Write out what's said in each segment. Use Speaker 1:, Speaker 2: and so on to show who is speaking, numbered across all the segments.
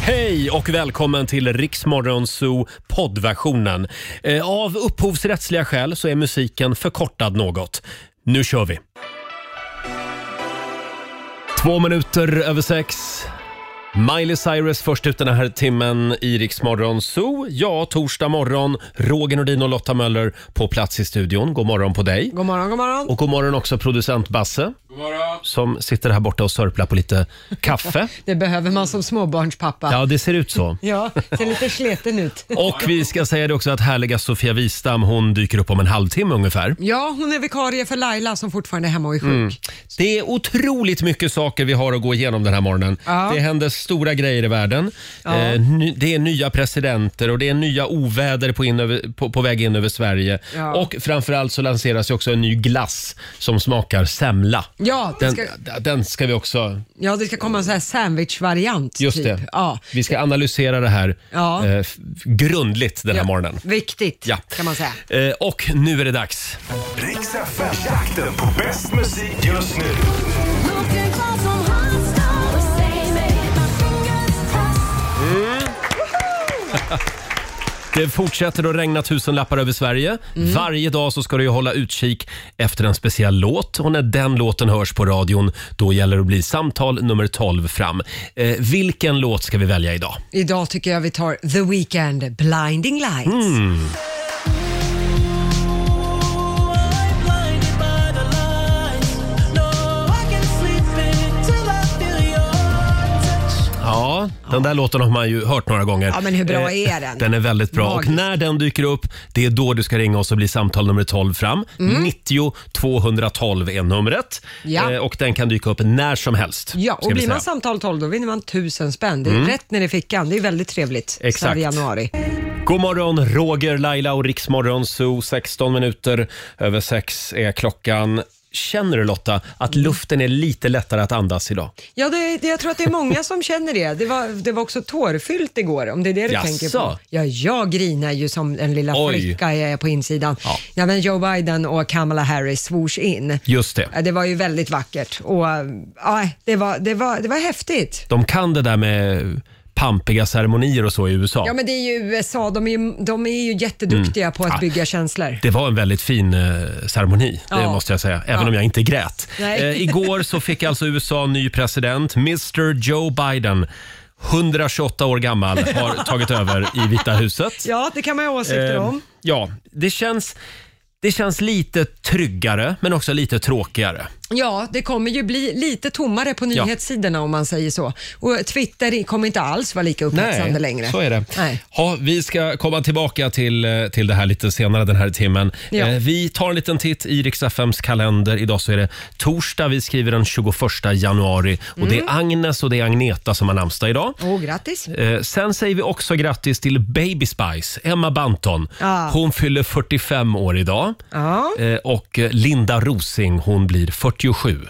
Speaker 1: Hej och välkommen till Riksmorgon Zoo poddversionen. Eh, Av upphovsrättsliga skäl så är musiken förkortad något. Nu kör vi! Två minuter över sex. Miley Cyrus först ut den här timmen i Riksmorgon Zoo. Ja, torsdag morgon. Roger Nordin och Lotta Möller på plats i studion. God morgon på dig.
Speaker 2: God morgon, god morgon.
Speaker 1: Och god morgon också producent Basse. Som sitter här borta och sörplar på lite kaffe.
Speaker 2: Det behöver man som småbarnspappa.
Speaker 1: Ja, det ser ut så.
Speaker 2: Ja, ser lite sleten ut.
Speaker 1: Och vi ska säga det också att härliga Sofia Wistam, hon dyker upp om en halvtimme ungefär.
Speaker 2: Ja, hon är vikarie för Laila som fortfarande är hemma och är sjuk.
Speaker 1: Det är otroligt mycket saker vi har att gå igenom den här morgonen.
Speaker 2: Ja.
Speaker 1: Det händer stora grejer i världen. Eh, ny, det är nya presidenter och det är nya oväder på, in över, på, på väg in över Sverige.
Speaker 2: Ja.
Speaker 1: Och framförallt så lanseras ju också en ny glass som smakar semla.
Speaker 2: Ja, det
Speaker 1: Den,
Speaker 2: ska,
Speaker 1: den ska vi också...
Speaker 2: ja, det ska komma en sån här sandwich-variant.
Speaker 1: Just
Speaker 2: typ.
Speaker 1: det.
Speaker 2: Ja.
Speaker 1: Vi ska analysera det här
Speaker 2: Ja.
Speaker 1: eh, f- grundligt den här
Speaker 2: Ja,
Speaker 1: morgonen.
Speaker 2: Viktigt,
Speaker 1: Ja.
Speaker 2: kan man säga.
Speaker 1: Eh, och nu är det dags.
Speaker 3: Riks FM-jakten på bäst musik just nu.
Speaker 1: Det fortsätter att regna tusenlappar över Sverige.
Speaker 2: Mm.
Speaker 1: Varje dag så ska du ju hålla utkik efter en speciell låt och när den låten hörs på radion då gäller det att bli samtal nummer 12 fram. Eh, vilken låt ska vi välja idag?
Speaker 2: Idag tycker jag vi tar The Weeknd, Blinding Lights.
Speaker 1: Mm. Ja, den där låten har man ju hört några gånger.
Speaker 2: Ja, men hur bra
Speaker 1: Eh,
Speaker 2: är den?
Speaker 1: Den är väldigt bra. Och
Speaker 2: Magisk.
Speaker 1: när den dyker upp, det är då du ska ringa oss och bli samtal nummer 12 fram. 90 212 är numret.
Speaker 2: Mm. Ja.
Speaker 1: Eh, och den kan dyka upp när som helst.
Speaker 2: Ja,
Speaker 1: ska
Speaker 2: och
Speaker 1: vi
Speaker 2: blir man
Speaker 1: säga.
Speaker 2: samtal 12 då vinner man 1000 spänn. Det är rätt ner i fickan. Det är väldigt trevligt. Så här
Speaker 1: Exakt.
Speaker 2: i januari.
Speaker 1: God morgon, Roger, Laila och Riksmorgon Zoo. 16 minuter över 6 är klockan. Känner du Lotta att luften är lite lättare att andas idag?
Speaker 2: Ja, det, det, jag tror att det är många som känner det. Det var, det var också tårfyllt igår, om det är det du
Speaker 1: Jaså?
Speaker 2: tänker på. Ja, jag grinar ju som en lilla
Speaker 1: Oj.
Speaker 2: flicka jag är på insidan.
Speaker 1: Ja.
Speaker 2: Ja. men Joe Biden och Kamala Harris svors in.
Speaker 1: Just det.
Speaker 2: Ja, Det var ju väldigt vackert och ja, det, var, det, var, det var häftigt.
Speaker 1: De kan det där med pampiga ceremonier och så i USA.
Speaker 2: Ja, men det är ju USA. De är ju, de är ju jätteduktiga på att
Speaker 1: Mm. Ja.
Speaker 2: bygga känslor.
Speaker 1: Det var en väldigt fin eh, ceremoni, det
Speaker 2: Ja.
Speaker 1: måste jag säga. Även
Speaker 2: Ja.
Speaker 1: om jag inte grät.
Speaker 2: Nej.
Speaker 1: Eh, igår så fick alltså USA ny president, Mr Joe Biden. 128 år gammal har tagit över i Vita huset.
Speaker 2: Ja, det kan man ju ha åsikter
Speaker 1: Eh,
Speaker 2: om.
Speaker 1: Ja, det känns, det känns lite tryggare men också lite tråkigare.
Speaker 2: Ja, det kommer ju bli lite tommare på
Speaker 1: Ja.
Speaker 2: nyhetssidorna om man säger så. Och Twitter kommer inte alls vara lika uppmärksammande längre.
Speaker 1: så är det.
Speaker 2: Nej.
Speaker 1: Ja, vi ska komma tillbaka till, eh, till det här lite senare den här timmen.
Speaker 2: Ja.
Speaker 1: Eh, Vi tar en liten titt i Rix FMs kalender. Idag så är det torsdag, vi skriver den 21 januari. Och Det är Agnes och det är Agneta som har namnsdag idag.
Speaker 2: Åh, grattis.
Speaker 1: Eh, Sen säger vi också grattis till Baby Spice, Emma Banton.
Speaker 2: Ja.
Speaker 1: Hon fyller 45 år idag.
Speaker 2: Ja.
Speaker 1: Eh, Och eh, Linda Rosing, hon blir 47.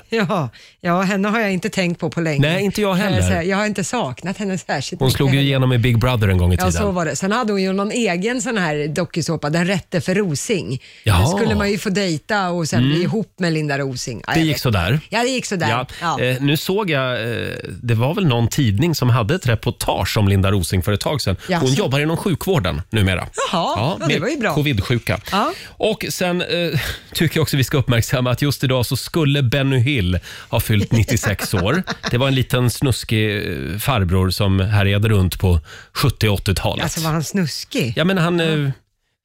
Speaker 2: Ja, ja, henne har jag inte tänkt på på länge.
Speaker 1: Nej, inte jag
Speaker 2: Kan
Speaker 1: heller.
Speaker 2: säga. Jag har inte saknat henne särskilt
Speaker 1: Hon
Speaker 2: mycket
Speaker 1: slog ju
Speaker 2: heller.
Speaker 1: igenom i Big Brother en gång i
Speaker 2: Ja, så
Speaker 1: tiden.
Speaker 2: var det. Sen hade hon ju någon egen sån här dokusåpa, Den rätte för Rosing.
Speaker 1: Jaha. Mm.
Speaker 2: Då skulle man ju få dejta och sen bli ihop med Linda Rosing. Ja,
Speaker 1: Det
Speaker 2: jag
Speaker 1: gick
Speaker 2: vet.
Speaker 1: sådär.
Speaker 2: Ja, det gick sådär.
Speaker 1: Ja.
Speaker 2: Ja.
Speaker 1: Eh, nu såg jag, eh, det var väl någon tidning som hade ett reportage om Linda Rosing för ett tag sedan. Hon
Speaker 2: Jaså?
Speaker 1: jobbar inom sjukvården numera.
Speaker 2: Jaha, ja, det
Speaker 1: med
Speaker 2: var ju bra.
Speaker 1: Covid-sjuka.
Speaker 2: Ja.
Speaker 1: Och sen eh, tycker jag också vi ska uppmärksamma att just idag så skulle Benny Hill ha fyllt 96 år. Det var en liten snuskig eh, farbror som härjade runt på 70 och 80-talet.
Speaker 2: Alltså var han snuskig?
Speaker 1: Ja, men han eh,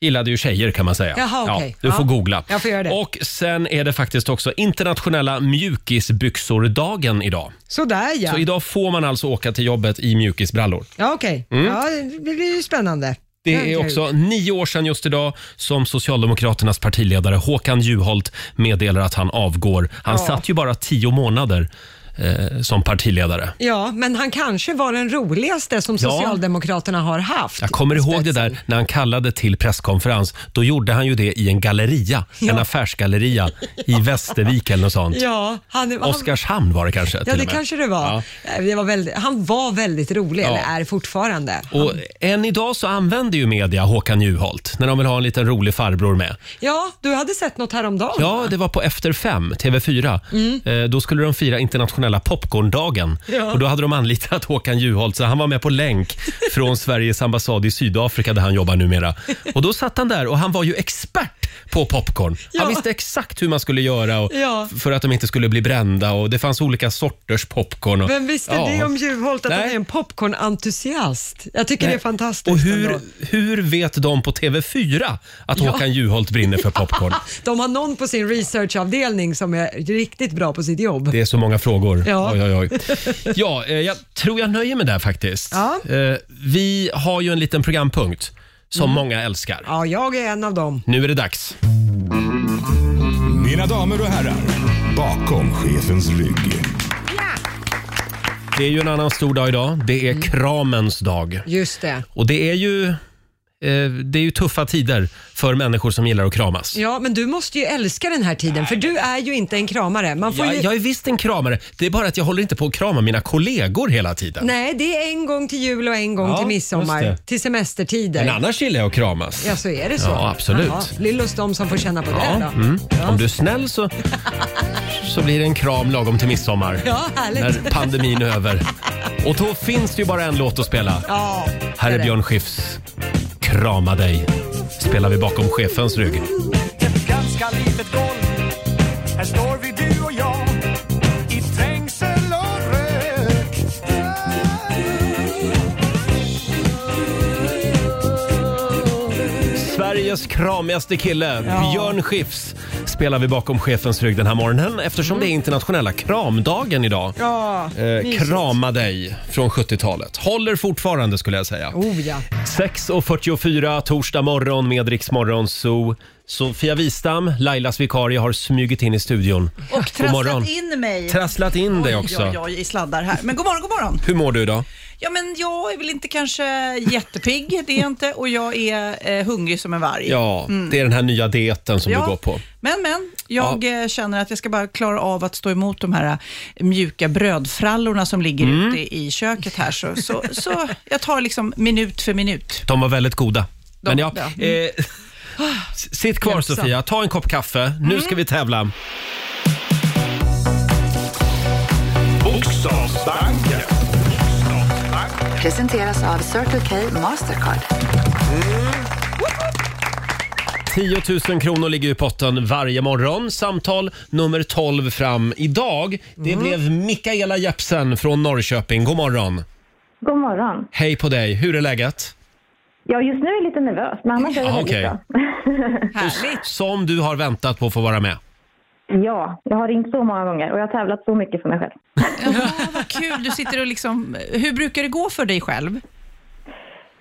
Speaker 1: gillade ju tjejer kan man säga.
Speaker 2: Jaha, okej.
Speaker 1: du får
Speaker 2: Ja.
Speaker 1: googla.
Speaker 2: Jag får göra det.
Speaker 1: Och sen är det faktiskt också internationella mjukisbyxor-dagen idag.
Speaker 2: Sådär ja.
Speaker 1: Så idag får man alltså åka till jobbet i mjukisbrallor.
Speaker 2: Ja, okej. Ja, det blir ju spännande.
Speaker 1: Mm. Det
Speaker 2: har
Speaker 1: är
Speaker 2: jag
Speaker 1: också nio år sedan just idag som Socialdemokraternas partiledare Håkan Juholt meddelar att han avgår. Han
Speaker 2: Ja.
Speaker 1: satt ju bara tio månader eh, som partiledare.
Speaker 2: Ja, men han kanske var den roligaste som
Speaker 1: Ja.
Speaker 2: Socialdemokraterna har haft.
Speaker 1: Jag kommer ihåg det där när han kallade till presskonferens. Då gjorde han ju det i en galleria, en affärsgalleria i Västervik eller något sånt.
Speaker 2: Ja, han, han,
Speaker 1: Oskarshamn var det kanske till
Speaker 2: ja
Speaker 1: och
Speaker 2: det
Speaker 1: med.
Speaker 2: kanske det var. Eh,
Speaker 1: Ja.
Speaker 2: Det var väldigt, han var väldigt rolig,
Speaker 1: Ja.
Speaker 2: eller är fortfarande.
Speaker 1: Och än idag så använder ju media Håkan Juholt när de vill ha en liten rolig farbror med.
Speaker 2: Ja, du hade sett något häromdagen?
Speaker 1: Ja, det var på Efter fem, TV4. Eh, då skulle de fira internationella internationella popcorndagen.
Speaker 2: Mm. Ja.
Speaker 1: Och då hade de anlitat Håkan Juholt, så han var med på länk från Sveriges ambassad i Sydafrika där han jobbar numera. Och då satt han där och han var ju expert på popcorn. Han
Speaker 2: Ja.
Speaker 1: visste exakt hur man skulle göra och
Speaker 2: Ja.
Speaker 1: f- för att de inte skulle bli brända och det fanns olika sorters popcorn. Och,
Speaker 2: Vem visste det om Juholt att han
Speaker 1: Nej.
Speaker 2: är en popcornentusiast? Jag tycker det är fantastiskt.
Speaker 1: Eh, Och hur,
Speaker 2: ändå.
Speaker 1: hur vet de på TV4 att
Speaker 2: Ja.
Speaker 1: Håkan Juholt brinner för popcorn?
Speaker 2: De har någon på sin researchavdelning som är riktigt bra på sitt jobb.
Speaker 1: Det är så många frågor.
Speaker 2: Ja.
Speaker 1: Oj, oj, oj. ja eh, jag tror jag nöjer mig där faktiskt.
Speaker 2: Ja.
Speaker 1: Eh, Vi har ju en liten programpunkt som
Speaker 2: Mm.
Speaker 1: många älskar.
Speaker 2: Ja, jag är en av dem.
Speaker 1: Nu är det dags.
Speaker 3: Mina damer och herrar, bakom chefens rygg.
Speaker 1: Det är ju en annan stor dag idag. Det är
Speaker 2: Mm.
Speaker 1: kramens dag.
Speaker 2: Just det.
Speaker 1: Och det är ju... eh, Det är ju tuffa tider för människor som gillar att kramas.
Speaker 2: Ja, men du måste ju älska den här tiden för du är ju inte en kramare. Man får
Speaker 1: Jag,
Speaker 2: ju...
Speaker 1: jag är visst en kramare. Det är bara att jag håller inte på att krama mina kollegor hela tiden.
Speaker 2: Nej, det är en gång till jul och en gång
Speaker 1: Ja,
Speaker 2: till
Speaker 1: just
Speaker 2: midsommar.
Speaker 1: det.
Speaker 2: Till semestertider.
Speaker 1: Men annars gillar jag att kramas.
Speaker 2: Ja, så är det så?
Speaker 1: Ja, absolut.
Speaker 2: Jaha, Lillus de som får känna på det
Speaker 1: Ja,
Speaker 2: då.
Speaker 1: mm. Om du är snäll så, så blir det en kram lagom till midsommar.
Speaker 2: Ja, härligt.
Speaker 1: När pandemin är över. Och då finns det ju bara en låt att spela.
Speaker 2: Ja,
Speaker 1: Här
Speaker 2: det
Speaker 1: är
Speaker 2: det.
Speaker 1: Björn Skifs Krama dig. Spelar vi bakom chefens rygg.
Speaker 4: Ett ganska litet golv Här står vi du och jag I trängsel och rök
Speaker 1: Sveriges kramigaste kille,
Speaker 2: Ja.
Speaker 1: Björn Skifs, spelar vi bakom chefens rygg den här morgonen eftersom det är internationella kramdagen idag.
Speaker 2: Ja,
Speaker 1: Eh,
Speaker 2: mysigt.
Speaker 1: krama dig från 70-talet. Håller fortfarande skulle jag säga.
Speaker 2: Oh ja.
Speaker 1: 6.44 torsdag morgon med Rix Morgon Zoo. Sofia Wistam, Lailas vikarie, har smugit in i studion.
Speaker 5: Och
Speaker 1: God morgon.
Speaker 5: trasslat in mig.
Speaker 1: Trasslat in dig också.
Speaker 5: Oj, oj, oj, i sladdar här. Men god morgon, god morgon.
Speaker 1: Hur mår du idag?
Speaker 5: Ja, men jag är väl inte kanske jättepigg, det är jag inte. Och jag är eh, hungrig som en varg.
Speaker 1: Ja, det är den här nya dieten som
Speaker 5: Mm. Ja,
Speaker 1: du går på.
Speaker 5: Men, men, jag eh, känner att jag ska bara klara av att stå emot de här eh, mjuka brödfrallorna som ligger
Speaker 1: Mm.
Speaker 5: ute i köket här. Så, så, så jag tar liksom minut för minut.
Speaker 1: De var väldigt goda.
Speaker 5: De- Mm.
Speaker 1: Men ja,
Speaker 5: ja.
Speaker 1: eh, s- sitt kvar
Speaker 2: Hjälpsam.
Speaker 1: Sofia, ta en kopp kaffe. Nu
Speaker 5: Mm.
Speaker 1: ska vi tävla.
Speaker 3: Bokstavsbanken.
Speaker 6: Presenteras av Circle K Mastercard.
Speaker 1: 10 000 kronor ligger i potten varje morgon. Samtal nummer 12 fram idag. Det
Speaker 2: Mm.
Speaker 1: blev Mikaela Jepsen från Norrköping. God morgon.
Speaker 7: God morgon.
Speaker 1: Hej på dig, hur är läget?
Speaker 7: Ja, just nu är jag lite nervös, men annars är det
Speaker 1: Ja,
Speaker 7: väldigt
Speaker 1: okej.
Speaker 7: bra.
Speaker 5: Härligt.
Speaker 1: Som du har väntat på att få vara med.
Speaker 7: Ja, jag har ringt så många gånger och jag har tävlat så mycket för mig själv.
Speaker 5: Ja, vad kul. Du sitter och liksom... Hur brukar det gå för dig själv?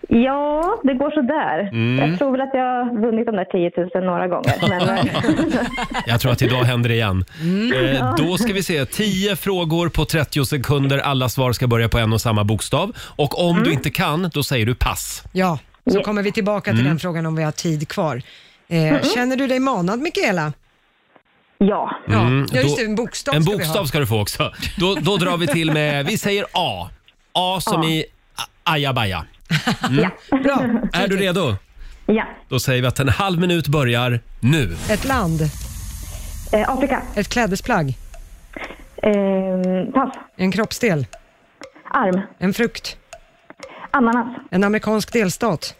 Speaker 7: Ja, det går sådär.
Speaker 1: Mm.
Speaker 7: Jag tror väl att jag har vunnit de där 10 000 några gånger. Men, eh,
Speaker 1: Jag tror att idag händer det igen.
Speaker 2: Mm.
Speaker 1: Eh, då ska vi se. 10 frågor på 30 sekunder. Alla svar ska börja på en och samma bokstav. Och om
Speaker 2: Mm.
Speaker 1: du inte kan, då säger du pass.
Speaker 2: Ja, så kommer vi tillbaka till
Speaker 1: Mm.
Speaker 2: den frågan om vi har tid kvar. Eh, Känner du dig manad, Mikaela?
Speaker 7: ja,
Speaker 2: Ja, ja just
Speaker 1: Mm. då-
Speaker 2: det. En bokstav
Speaker 1: en
Speaker 2: ska
Speaker 1: bokstav
Speaker 2: vi
Speaker 1: ska du få också. Då, då drar vi till med, vi säger A. A som i a- ajabaja.
Speaker 5: Mm.
Speaker 2: ha. Bra.
Speaker 1: Är du redo?
Speaker 7: ja.
Speaker 1: Då säger vi att en halv minut börjar nu.
Speaker 2: Ett land,
Speaker 7: Eh, Afrika.
Speaker 2: ett klädesplagg,
Speaker 7: Eh, pass.
Speaker 2: en kroppsdel,
Speaker 7: Arm.
Speaker 2: en frukt,
Speaker 7: Ananas.
Speaker 2: en amerikansk delstat,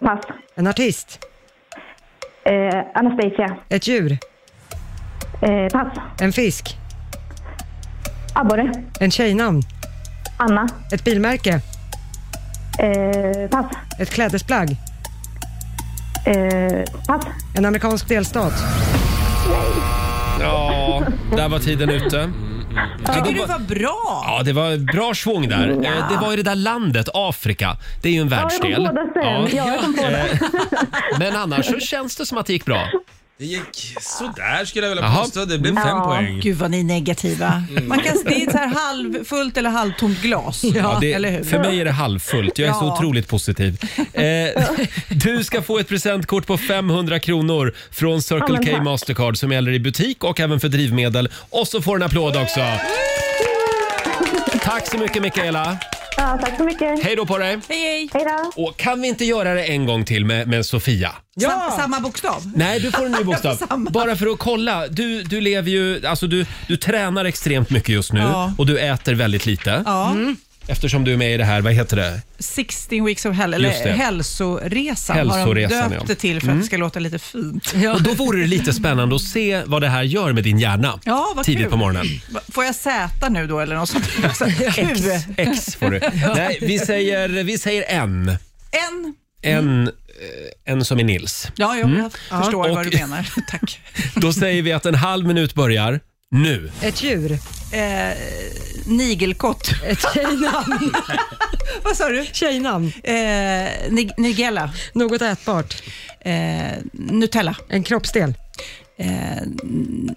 Speaker 7: Pass.
Speaker 2: en artist,
Speaker 7: Eh, Anastasia.
Speaker 2: ett djur,
Speaker 7: Eh, pass.
Speaker 2: en fisk,
Speaker 7: Abborre.
Speaker 2: en tjejnamn,
Speaker 7: Anna.
Speaker 2: ett bilmärke,
Speaker 7: Eh, pass.
Speaker 2: ett klädesplagg,
Speaker 7: Eh, pass.
Speaker 2: en amerikansk delstat.
Speaker 1: Ja, där var tiden ute.
Speaker 5: Tycker du var bra?
Speaker 1: Ja, det var bra svång där. Eh, Det var ju det där landet, Afrika. Det är ju en
Speaker 7: Ja, jag kom
Speaker 1: världsdel. Eh,
Speaker 7: på det sen. Ja, jag kom på det.
Speaker 1: Men annars så känns det som att det gick bra.
Speaker 8: Det gick sådär skulle jag vilja
Speaker 1: Jaha.
Speaker 8: påstå. Det blev fem
Speaker 7: Ja.
Speaker 8: poäng.
Speaker 5: Gud vad ni är negativa.
Speaker 1: Mm.
Speaker 5: Man kan, det är ett så här halvfullt eller halvtomt glas.
Speaker 1: Ja, det,
Speaker 5: eller hur?
Speaker 1: För mig är det halvfullt. Jag är så
Speaker 5: Ja.
Speaker 1: otroligt positiv. Eh, du ska få ett presentkort på 500 kronor från
Speaker 7: Ja,
Speaker 1: Circle
Speaker 7: men
Speaker 1: K
Speaker 7: tack.
Speaker 1: Mastercard som gäller i butik och även för drivmedel. Och så får du en applåd också. Tack så mycket Mikaela.
Speaker 7: Ja, tack så mycket.
Speaker 1: Hej då på dig!
Speaker 5: Hej, hej.
Speaker 7: Hej då.
Speaker 1: Och kan vi inte göra det en gång till med, med Sofia?
Speaker 5: Sam, samma bokstav.
Speaker 1: Nej, du får en ny bokstav.
Speaker 5: får samma.
Speaker 1: Bara för att kolla. Du, du lever ju, alltså du, du tränar extremt mycket just nu
Speaker 5: Ja.
Speaker 1: och du äter väldigt lite.
Speaker 5: Ja,
Speaker 1: Eftersom du är med i det här, vad heter det?
Speaker 5: 16 weeks of hell,
Speaker 1: Just det.
Speaker 5: eller hälsoresan,
Speaker 1: Hälsoresan,
Speaker 5: har de
Speaker 1: ja. Mm.
Speaker 5: döpt det till för att det ska låta lite fint.
Speaker 1: Och då vore det lite spännande att se vad det här gör med din hjärna
Speaker 5: Ja, vad
Speaker 1: tidigt
Speaker 5: kul.
Speaker 1: på morgonen.
Speaker 5: Va- Får jag Z nu då eller något sånt? Så, Q.
Speaker 1: X får du. Nej, vi säger, vi säger en.
Speaker 5: En.
Speaker 1: En, eh, en som är Nils.
Speaker 5: Ja, jo, jag förstår vad
Speaker 1: Mm. Och-
Speaker 5: du menar. Tack.
Speaker 1: Då säger vi att en halv minut börjar nu.
Speaker 2: Ett djur.
Speaker 5: Eh, nigelkott.
Speaker 2: Ett tjejnamn.
Speaker 5: Vad sa du?
Speaker 2: tjejnamn.
Speaker 5: Eh, nig- nigella.
Speaker 2: Något ätbart.
Speaker 5: Eh, Nutella.
Speaker 2: En kroppsdel.
Speaker 5: Eh, n-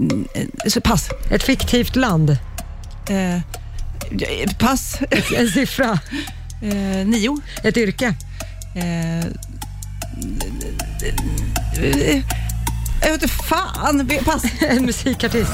Speaker 5: n- eh, så pass.
Speaker 2: Ett fiktivt land.
Speaker 5: Eh, pass.
Speaker 2: En siffra.
Speaker 5: Eh, nio.
Speaker 2: Ett yrke.
Speaker 5: Eh, eh, jag vet inte fan. Pass.
Speaker 2: En musikartist.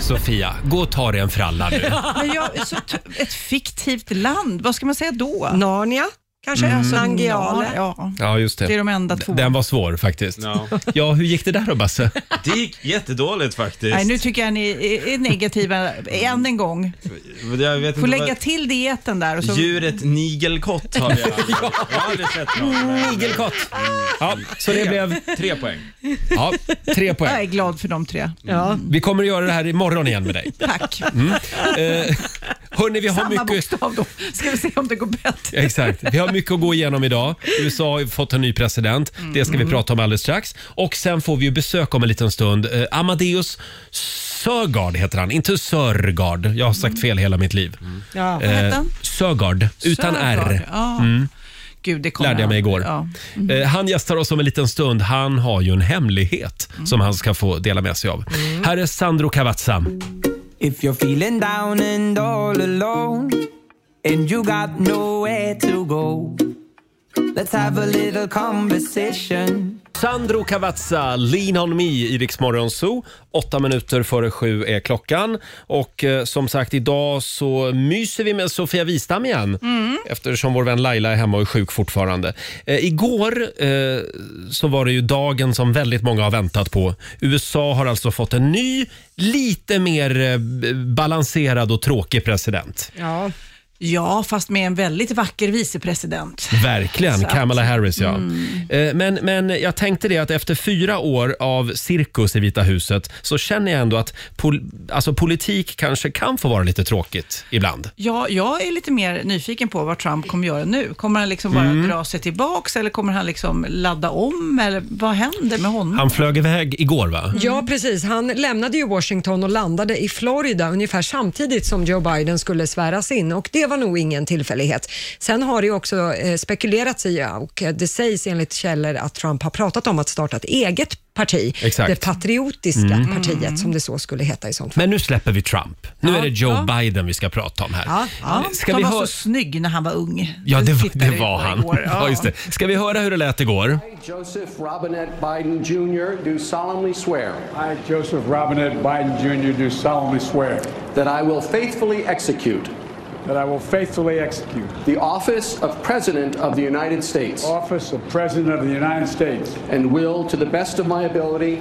Speaker 1: Sofia, gå och ta dig en fralla nu.
Speaker 5: Men jag, så, t- ett fiktivt land, vad ska man säga då?
Speaker 2: Narnia. Kanske mm. Nangiale.
Speaker 5: Ja,
Speaker 1: Ja, just
Speaker 5: det är de enda två.
Speaker 1: Den var svår faktiskt.
Speaker 8: Ja.
Speaker 1: Ja, hur gick det där då Basse?
Speaker 8: Det gick jättedåligt faktiskt.
Speaker 5: Nej, nu tycker jag ni är- är negativa än en gång.
Speaker 8: jag vet
Speaker 5: Får
Speaker 1: Mm.
Speaker 8: inte
Speaker 5: lägga
Speaker 8: vad-
Speaker 5: till dieten där. Och så,
Speaker 8: Djuret nigelkott har vi ja. Jag har aldrig sett någon.
Speaker 1: Igelkott. Ja, så det blev
Speaker 8: Tre poäng.
Speaker 1: ja, tre
Speaker 5: jag är
Speaker 1: poäng.
Speaker 5: glad för de
Speaker 1: Mm.
Speaker 5: tre.
Speaker 2: Ja.
Speaker 1: Vi kommer att göra det här imorgon igen med dig.
Speaker 5: Tack.
Speaker 1: Eh, hörni, vi har
Speaker 5: Samma
Speaker 1: mycket...
Speaker 5: bokstav då, ska vi se om det går bättre.
Speaker 1: Exakt. Vi har mycket att gå igenom idag. USA har ju fått en ny president. Det ska
Speaker 5: Mm.
Speaker 1: vi prata om alldeles strax. Och sen får vi ju besök om en liten stund. Eh, Amadeus Sörgard heter han, inte Sörgard. Jag har sagt fel hela mitt liv. Eh,
Speaker 2: Ja.
Speaker 5: Mm. Vad hette han?
Speaker 1: Sörgard, utan R. Mm.
Speaker 5: Sögaard. Ja. Gud, det kommer
Speaker 1: lärde jag mig igår.
Speaker 5: Ja. Mm.
Speaker 1: Eh, Han gästar oss om en liten stund. Han har ju en hemlighet
Speaker 5: Mm.
Speaker 1: som han ska få dela med sig av. Här är Sandro Cavazza.
Speaker 9: If you're feeling down and all alone and you got nowhere to go, let's have a little conversation.
Speaker 1: Sandro Cavazza, Lean on me i Rix Morgon Zoo. Åtta minuter före sju är klockan. Och eh, som sagt, idag så myser vi med Sofia Wistam igen. Eftersom vår vän Laila är hemma och är sjuk fortfarande. Eh, igår eh, så var det ju dagen som väldigt många har väntat på. USA har alltså fått en ny, lite mer eh, b- balanserad och tråkig president.
Speaker 2: ja.
Speaker 5: ja, fast med en väldigt vacker vicepresident.
Speaker 1: Verkligen,
Speaker 5: Så att- Mm.
Speaker 1: Kamala Harris ja. Eh, Men, men jag tänkte det att efter fyra år av cirkus i Vita huset så känner jag ändå att pol alltså politik kanske kan få vara lite tråkigt ibland.
Speaker 5: Ja, jag är lite mer nyfiken på vad Trump kommer göra nu. Kommer han liksom bara
Speaker 1: Mm.
Speaker 5: dra sig tillbaks eller kommer han liksom ladda om? Eller vad händer med honom?
Speaker 1: Han flög iväg igår va?
Speaker 5: Mm.
Speaker 2: Ja, precis. Han lämnade ju Washington och landade i Florida ungefär samtidigt som Joe Biden skulle sväras in och det var nog ingen tillfällighet. Sen har det ju också eh, spekulerats i och eh, det sägs enligt källor att Trump har pratat om att starta ett eget parti,
Speaker 1: Exakt.
Speaker 2: det patriotiska partiet som det så skulle heta i sånt fall.
Speaker 1: Men nu släpper vi Trump. Nu är det Joe Biden vi ska prata om här.
Speaker 2: Ja,
Speaker 5: Ja,
Speaker 1: Ska
Speaker 5: han
Speaker 1: vi
Speaker 5: var
Speaker 1: hör-
Speaker 5: så snygg när han var ung.
Speaker 1: Ja, det, var-
Speaker 5: Tittade
Speaker 1: det
Speaker 5: vi
Speaker 1: var
Speaker 5: på
Speaker 1: han.
Speaker 5: igår.
Speaker 1: Ja, just det. Ska vi höra hur det lät igår?
Speaker 10: Joseph Robinette Biden Jr. do solemnly swear
Speaker 4: I, Joseph Robinette Biden Jr., do solemnly swear
Speaker 10: that I will faithfully execute
Speaker 4: that I will faithfully execute
Speaker 10: the office of President of the United States
Speaker 4: the office of President of the United States,
Speaker 10: and will, to the best of my ability,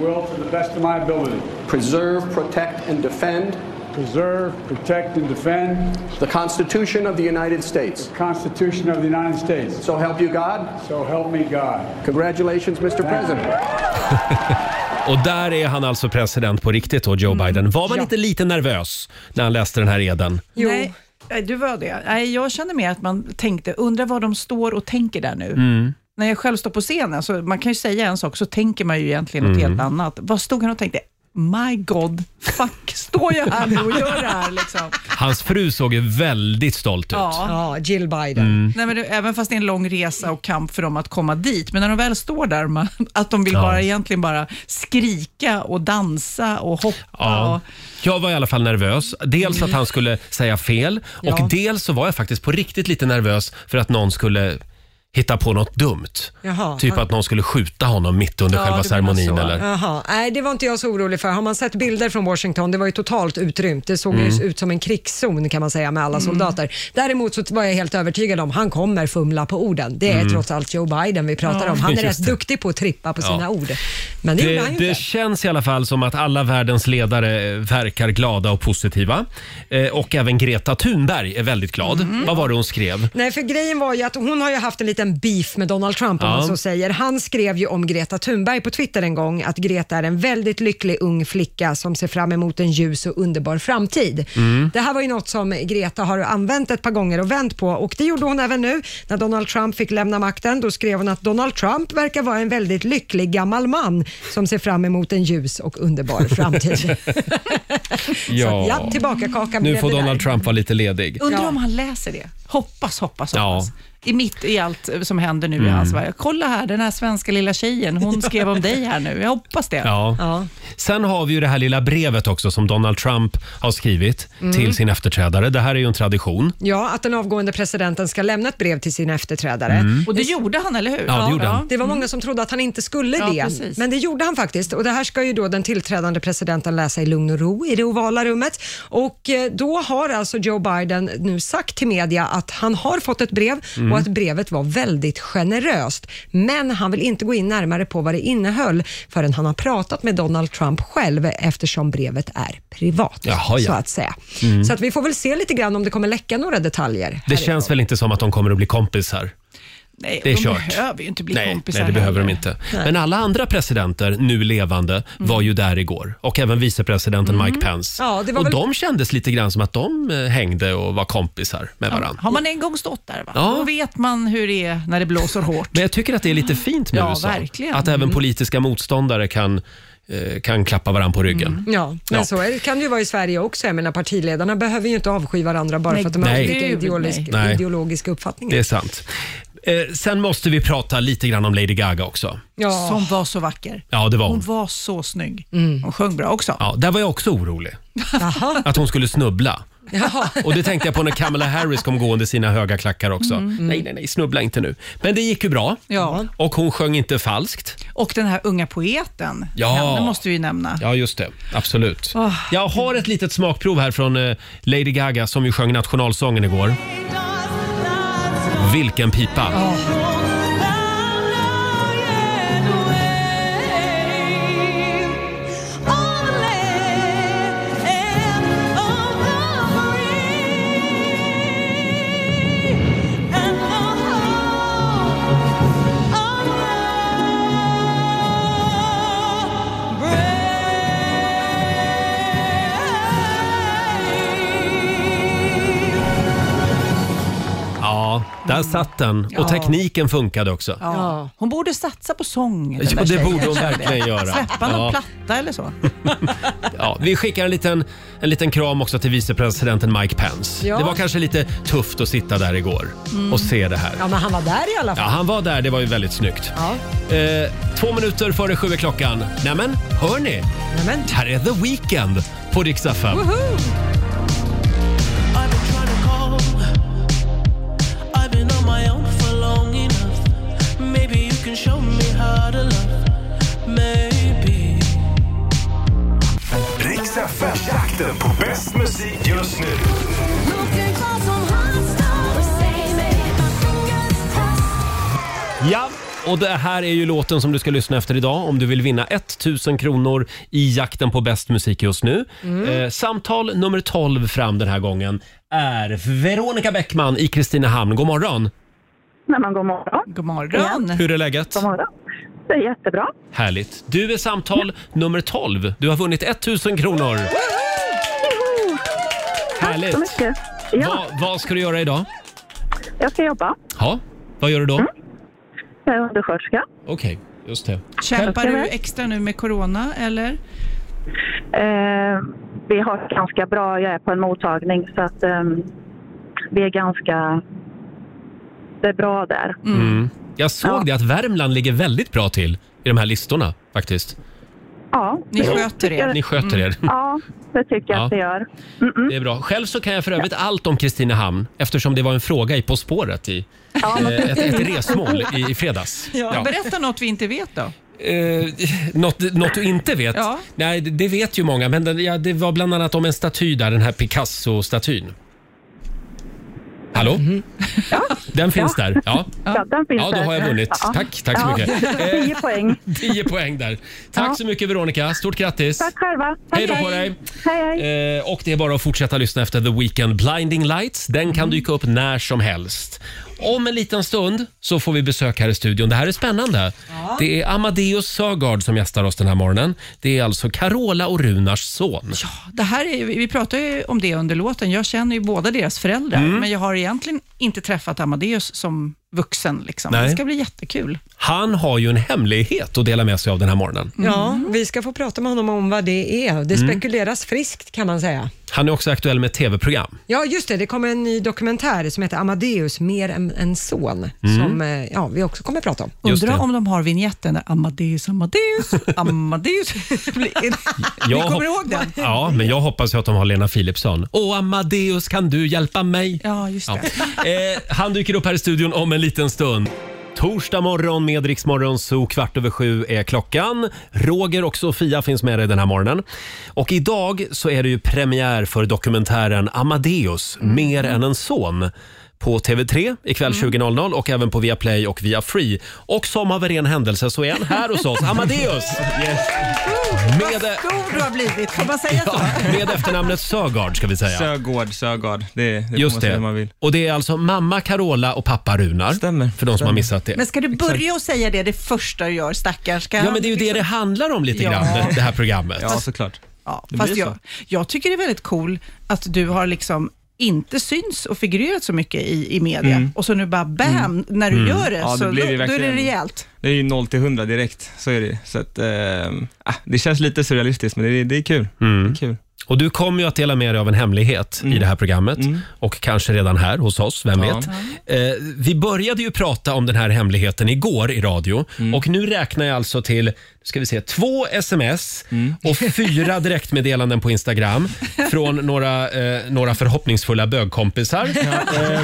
Speaker 4: will to the best of my ability
Speaker 10: preserve, protect, and defend
Speaker 4: preserve, protect, and defend
Speaker 10: the Constitution of the United States.
Speaker 4: the Constitution of the United States.
Speaker 10: So help you God.
Speaker 4: So help me God.
Speaker 10: Congratulations, Mr. President.
Speaker 1: Och där är han alltså president på riktigt då,
Speaker 5: Mm.
Speaker 1: Joe Biden. Var man inte lite nervös när han läste den här eden?
Speaker 2: Jo.
Speaker 5: Nej, nej, du var det. Nej, jag kände mer att man tänkte, undrar vad de står och tänker där nu. När jag själv står på scenen, så man kan ju säga en sak, så tänker man ju egentligen något helt annat. Vad stod han och tänkte? My God, fuck, står jag här nu och gör det här liksom?
Speaker 1: Hans fru såg ju väldigt stolt ut.
Speaker 5: Ja.
Speaker 2: Ja, Jill Biden.
Speaker 5: Nej, men det, även fast det är en lång resa och kamp för dem att komma dit, men när de väl står där, man, att de vill bara egentligen bara skrika och dansa och hoppa.
Speaker 1: Ja.
Speaker 5: Och,
Speaker 1: Jag var i alla fall nervös. Dels att han skulle säga fel och dels så var jag faktiskt på riktigt lite nervös för att någon skulle hitta på något dumt.
Speaker 2: Jaha.
Speaker 1: Typ att någon skulle skjuta honom mitt under själva ceremonin. Eller?
Speaker 2: Jaha. Nej, det var inte jag så orolig för. Har man sett bilder från Washington, det var ju totalt utrymt. Det såg
Speaker 1: Mm.
Speaker 2: ju ut som en krigszon kan man säga med alla
Speaker 11: Mm.
Speaker 2: soldater. Däremot så var jag helt övertygad om han kommer fumla på orden. Det är
Speaker 1: Mm.
Speaker 2: trots allt Joe Biden vi pratar
Speaker 1: Ja.
Speaker 2: om. Han är
Speaker 1: Just
Speaker 2: rätt
Speaker 1: det.
Speaker 2: duktig på att trippa på
Speaker 1: Ja.
Speaker 2: sina ord. Men det, gjorde han ju
Speaker 1: det
Speaker 2: inte.
Speaker 1: känns i alla fall som att alla världens ledare eh, verkar glada och positiva. Eh, och även Greta Thunberg är väldigt glad.
Speaker 2: Mm.
Speaker 1: Vad var det hon skrev?
Speaker 2: Nej, för grejen var ju att hon har ju haft en liten beef med Donald Trump om
Speaker 1: Ja.
Speaker 2: man så säger. Han skrev ju om Greta Thunberg på Twitter en gång att Greta är en väldigt lycklig ung flicka som ser fram emot en ljus och underbar framtid.
Speaker 11: Mm.
Speaker 2: Det här var ju något som Greta har använt ett par gånger och vänt på och det gjorde hon även nu när Donald Trump fick lämna makten. Då skrev hon att Donald Trump verkar vara en väldigt lycklig gammal man som ser fram emot en ljus och underbar framtid. ja, tillbaka kakan
Speaker 1: Nu
Speaker 2: blev
Speaker 1: får
Speaker 2: det där.
Speaker 1: Donald Trump vara lite ledig.
Speaker 5: Undrar om han läser det. Hoppas, hoppas,
Speaker 1: Ja.
Speaker 5: hoppas. I mitt i allt som händer nu i
Speaker 1: Mm.
Speaker 5: hans värld. Kolla här, den här svenska lilla tjejen, hon skrev om dig här nu. Jag hoppas det.
Speaker 1: Ja. Sen har vi ju det här lilla brevet också som Donald Trump har skrivit
Speaker 2: Mm.
Speaker 1: till sin efterträdare. Det här är ju en tradition.
Speaker 2: Ja, att den avgående presidenten ska lämna ett brev till sin efterträdare.
Speaker 1: Mm.
Speaker 5: Och det gjorde han, eller hur?
Speaker 1: Ja, det gjorde han.
Speaker 2: det var många som trodde att han inte skulle
Speaker 5: Ja,
Speaker 2: det,
Speaker 5: precis.
Speaker 2: men det gjorde han faktiskt. Och Det här ska ju då den tillträdande presidenten läsa i lugn och ro i det ovala rummet. Och eh, Då har alltså Joe Biden nu sagt till media att han har fått ett brev
Speaker 11: Mm.
Speaker 2: och att brevet var väldigt generöst. Men han vill inte gå in närmare på vad det innehöll förrän han har pratat med Donald Trump själv eftersom brevet är privat.
Speaker 1: Jaha, ja.
Speaker 2: så att säga.
Speaker 1: Mm.
Speaker 2: Så att vi får väl se lite grann om det kommer läcka några detaljer.
Speaker 1: Det känns väl inte som att de kommer att bli kompisar?
Speaker 5: Nej,
Speaker 1: Det är
Speaker 5: de
Speaker 1: kört.
Speaker 5: behöver ju inte bli
Speaker 1: nej,
Speaker 5: kompisar
Speaker 1: nej, det behöver de
Speaker 5: heller.
Speaker 1: inte.
Speaker 5: Nej. Mm.
Speaker 1: Men alla andra presidenter, nu levande, var ju där igår. Och även vicepresidenten Mike Pence.
Speaker 5: Ja, det var
Speaker 1: och
Speaker 5: väl-
Speaker 1: de kändes lite grann som att de eh, hängde och var kompisar med varandra.
Speaker 5: Har man en gång stått där, va?
Speaker 1: Ja.
Speaker 5: då vet man hur det är när det blåser hårt.
Speaker 1: Men jag tycker att det är lite fint med
Speaker 5: Ja,
Speaker 1: USA.
Speaker 5: verkligen.
Speaker 1: Att även
Speaker 5: Mm.
Speaker 1: politiska motståndare kan, eh, kan klappa varandra på ryggen.
Speaker 5: Mm.
Speaker 2: Ja, men
Speaker 1: Ja.
Speaker 2: så är, det- kan det ju vara i Sverige också. Jag menar, partiledarna behöver ju inte avsky varandra bara
Speaker 1: Nej,
Speaker 2: för att de har
Speaker 1: nej.
Speaker 2: olika
Speaker 1: Gud,
Speaker 2: ideologisk,
Speaker 1: nej. Nej.
Speaker 2: ideologiska uppfattningar.
Speaker 1: Det är sant. Eh, sen måste vi prata lite grann om Lady Gaga också.
Speaker 2: Ja.
Speaker 5: Som var så vacker.
Speaker 1: Ja, det var
Speaker 5: Hon
Speaker 1: hon.
Speaker 5: var så snygg. Hon sjöng bra också.
Speaker 1: Mm. Ja, där var jag också orolig.
Speaker 2: Jaha.
Speaker 1: Att hon skulle snubbla.
Speaker 2: Jaha.
Speaker 1: Och det tänkte jag på när Kamala Harris kom gående i sina höga klackar också.
Speaker 5: Mm.
Speaker 1: Nej, nej, nej, snubbla inte nu. Men det gick ju bra.
Speaker 5: Ja.
Speaker 1: Och hon sjöng inte falskt.
Speaker 5: Och den här unga poeten,
Speaker 1: Ja.
Speaker 5: henne måste vi ju nämna.
Speaker 1: Ja, just det. Absolut.
Speaker 5: Åh.
Speaker 1: Jag har ett litet smakprov här från eh, Lady Gaga som ju sjöng nationalsången igår. Vilken pipa!
Speaker 5: Ah.
Speaker 1: Ja, där satt den. Och
Speaker 5: Ja.
Speaker 1: tekniken funkade också.
Speaker 5: Ja. Hon borde satsa på sång. den
Speaker 1: Ja,
Speaker 5: där
Speaker 1: det
Speaker 5: tjejen,
Speaker 1: borde hon
Speaker 5: kände jag.
Speaker 1: verkligen göra.
Speaker 5: Släppa någon
Speaker 1: Ja.
Speaker 5: platta eller så.
Speaker 1: Ja, vi skickar en liten, en liten kram också till vicepresidenten Mike Pence.
Speaker 2: Ja.
Speaker 1: Det var kanske lite tufft att sitta där igår
Speaker 2: Mm.
Speaker 1: och se det här.
Speaker 2: Ja, men han var där i alla
Speaker 1: Ja,
Speaker 2: fall.
Speaker 1: han var där. Det var ju väldigt snyggt.
Speaker 2: Ja.
Speaker 1: Eh, två minuter före sju är klockan. Nämen, hör ni?
Speaker 2: Nämen.
Speaker 1: Här är The Weeknd på riksdag fem.
Speaker 2: Woho!
Speaker 12: I've been trying to call. I've been on my own for long enough. Maybe you can show me how to love. Maybe.
Speaker 3: Riks FM-jakten på bäst musik just nu.
Speaker 1: Ja, och det här är ju låten som du ska lyssna efter idag om du vill vinna 1000 kronor i jakten på bäst musik just nu.
Speaker 2: Mm.
Speaker 1: Eh, samtal nummer 12 fram den här gången är Veronica Bäckman i Kristinehamn. God morgon!
Speaker 13: Nej, men god morgon.
Speaker 5: God morgon.
Speaker 1: Hur är läget?
Speaker 13: God morgon. Det är jättebra.
Speaker 1: Härligt. Du är samtal nummer 12. Du har vunnit 1000 kronor. Härligt.
Speaker 13: Tack så mycket. Ja,
Speaker 1: Vad- vad ska du göra idag?
Speaker 13: jag ska jobba.
Speaker 1: Ja, vad gör du då?
Speaker 13: Jag är undersköterska.
Speaker 1: Okej, just det.
Speaker 5: Kämpar du extra nu med corona eller?
Speaker 13: Eh, vi har ganska bra, jag är på en mottagning så att eh, vi är ganska, det är bra där.
Speaker 1: Mm. Jag såg det att Värmland ligger väldigt bra till i de här listorna faktiskt.
Speaker 13: Ja.
Speaker 1: Ni
Speaker 13: det
Speaker 1: sköter
Speaker 13: tycker
Speaker 1: er.
Speaker 13: jag-
Speaker 1: Ni sköter er.
Speaker 14: Mm.
Speaker 13: Ja, det tycker jag
Speaker 1: Ja.
Speaker 13: att det gör.
Speaker 1: Det är bra. Själv så kan jag för övrigt allt om Kristinehamn eftersom det var en fråga i På spåret i
Speaker 5: Ja.
Speaker 1: eh, ett, ett resmål i, i fredags.
Speaker 5: Ja.
Speaker 1: Ja.
Speaker 5: Berätta något vi inte vet då.
Speaker 1: Eh, något, något du inte vet?
Speaker 5: Ja.
Speaker 1: Nej, det- det vet ju många, men den, ja, det var bland annat om en staty där, den här Picasso-statyn. Hallå? Den finns där. Ja.
Speaker 13: Ja, den finns
Speaker 1: Ja, då
Speaker 13: där.
Speaker 1: har jag vunnit.
Speaker 13: Ja.
Speaker 1: Tack, tack så
Speaker 13: Ja.
Speaker 1: mycket. Eh,
Speaker 13: 10 poäng.
Speaker 1: 10 poäng där. Tack
Speaker 13: Ja.
Speaker 1: så mycket Veronica. Stort grattis.
Speaker 13: Tack själva.
Speaker 1: Hej då på dig.
Speaker 13: Hej, hej.
Speaker 1: Eh, och det är bara att fortsätta lyssna efter The Weekend Blinding Lights. Den kan dyka upp när som helst. Om en liten stund så får vi besök här i studion. Det här är spännande. Det är Amadeus Sögaard som gästar oss den här morgonen. Det är alltså Carola och Runars son.
Speaker 5: Det här är, ju- vi pratar ju om det under låten. Jag känner ju båda deras föräldrar,
Speaker 1: Mm.
Speaker 5: men jag har egentligen inte träffat Amadeus som vuxen. Liksom.
Speaker 1: Nej.
Speaker 5: Det ska bli jättekul.
Speaker 1: Han har ju en hemlighet att dela med sig av den här morgonen.
Speaker 2: Ja,
Speaker 5: Mm.
Speaker 2: vi ska få prata med honom om vad det är. Det
Speaker 1: Mm.
Speaker 2: spekuleras friskt kan man säga.
Speaker 1: Han är också aktuell med ett tv-program.
Speaker 2: Ja, just det. Det kommer en ny dokumentär som heter Amadeus, mer än en son,
Speaker 1: Mm.
Speaker 2: som eh, ja, vi också kommer prata om.
Speaker 1: Just
Speaker 5: Undrar
Speaker 1: det.
Speaker 5: om de har vignetten där Amadeus, Amadeus, Amadeus. Ni
Speaker 1: Jag
Speaker 5: kommer
Speaker 1: hop-
Speaker 5: ihåg den?
Speaker 1: Ja, men jag hoppas ju att de har Lena Philipsson. Åh, Amadeus, kan du hjälpa mig?
Speaker 5: Ja, just det.
Speaker 1: Eh, han dyker upp här i studion om en liten stund. Torsdag morgon med Rix Morgon Zoo, kvart över sju är klockan. Roger och Sofia finns med dig den här morgonen. Och idag så är det ju premiär för dokumentären Amadeus, mer än en son på TV3 ikväll 20.00 och även på Viaplay och via Free. Och som av en ren händelse så är han här hos oss, Amadeus! Med,
Speaker 5: stor du har blivit, får man säga så?
Speaker 1: Med efternamnet Sögaard ska vi säga.
Speaker 8: Sögaard, Sögaard. Det, det
Speaker 1: Just
Speaker 8: får man säga
Speaker 1: det.
Speaker 8: hur man vill.
Speaker 1: Och det är alltså mamma Carola och pappa Runar. Stämmer. För de som har missat det.
Speaker 5: Men ska du börja och säga det det första du gör, stackars? Ska
Speaker 1: Ja,
Speaker 5: han
Speaker 1: men det är ju det
Speaker 5: liksom-
Speaker 1: det handlar om lite grann, det- det här programmet.
Speaker 5: Ja,
Speaker 1: såklart. Ja,
Speaker 5: Fast jag, jag tycker det är väldigt cool att du har liksom inte syns och figurerat så mycket i, i media
Speaker 8: Mm.
Speaker 5: och så nu bara bam, när du
Speaker 8: Mm.
Speaker 5: gör det,
Speaker 8: Ja, det
Speaker 5: så
Speaker 8: blir
Speaker 5: då,
Speaker 8: ju
Speaker 5: då är det
Speaker 8: verkligen-
Speaker 5: rejält.
Speaker 8: Det är ju 0 till 100 direkt, så är det ju. Så att, ehm, ah, det känns lite surrealistiskt, men det, det är kul.
Speaker 1: Mm. Och du kommer ju att dela med dig av en hemlighet i det här programmet och kanske redan här hos oss, vem
Speaker 8: Mm. Ja.
Speaker 1: vet? Eh, vi började ju prata om den här hemligheten igår i radio
Speaker 8: Mm.
Speaker 1: och nu räknar jag alltså till, nu ska vi se, två sms
Speaker 8: Mm.
Speaker 1: och fyra direktmeddelanden på Instagram från några, eh, några förhoppningsfulla bögkompisar. Eh,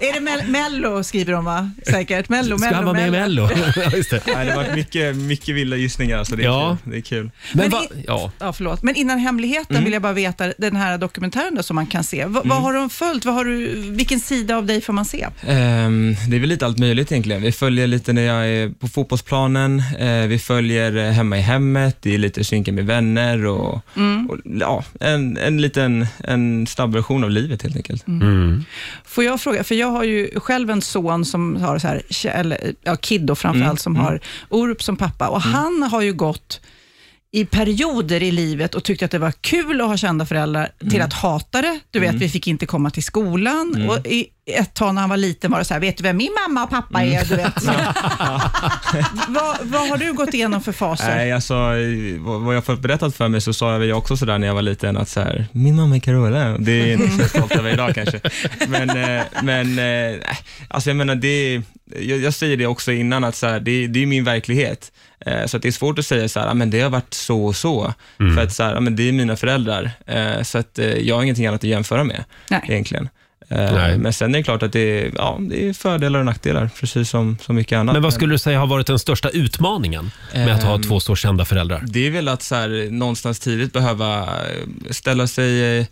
Speaker 5: Är det Mel- Mello skriver de va? Säkert. Mello,
Speaker 1: Ska
Speaker 5: Mello,
Speaker 1: han vara med i Mello? Ja, just det.
Speaker 8: Nej, det har varit mycket, mycket vilda gissningar, så det är
Speaker 1: Ja.
Speaker 8: kul. Det är kul.
Speaker 1: Men va- ja.
Speaker 5: Ja, förlåt. Men innan hemligheten vill jag bara veta den här dokumentären då, som man kan se. V- Vad har de följt? Vad har du, vilken sida av dig får man se?
Speaker 8: Ehm, det är väl lite allt möjligt egentligen. Vi följer lite när jag är på fotbollsplanen, eh, vi följer eh, hemma i hemmet, det är lite synken med vänner och,
Speaker 5: Mm.
Speaker 8: och ja, en, en liten en snabb version av livet helt enkelt.
Speaker 5: Får jag fråga, för jag har ju själv en son som har så här, tje- eller, ja, kid då framförallt,
Speaker 8: Mm,
Speaker 5: som
Speaker 8: mm.
Speaker 5: har Orup som pappa och han har ju gått i perioder i livet och tyckte att det var kul att ha kända föräldrar till att hata det. Du vet,
Speaker 8: Mm.
Speaker 5: vi fick inte komma till skolan
Speaker 8: Mm.
Speaker 5: och i ett tag när han var liten var det så här, vet du vem min mamma och pappa är?
Speaker 8: Mm.
Speaker 5: Du vet. Så. vad, vad har du gått igenom för faser?
Speaker 8: Nej, alltså, eh, vad vad jag fått berättat för mig så sa jag väl jag också sådär när jag var liten att så här, min mamma är Carola. Det är inte så jag är stolt över idag kanske. Men, eh, men eh, nej, alltså jag menar, det, jag, jag säger det också innan att så här, det, det är min verklighet. Eh, Så att det är svårt att säga så här, "Ah, men det har varit så och så.
Speaker 1: Mm.
Speaker 8: För att så här, "Ah, men det är mina föräldrar. Eh, Så att eh, jag har ingenting annat att jämföra med
Speaker 5: Nej.
Speaker 8: egentligen. Eh, Men sen är det klart att det är, ja, det är fördelar och nackdelar, precis som, som mycket annat.
Speaker 1: Men vad skulle du säga har varit den största utmaningen med att ha
Speaker 8: Ehm,
Speaker 1: två så kända föräldrar?
Speaker 8: Det är väl att så här, någonstans tidigt behöva eh, ställa sig eh,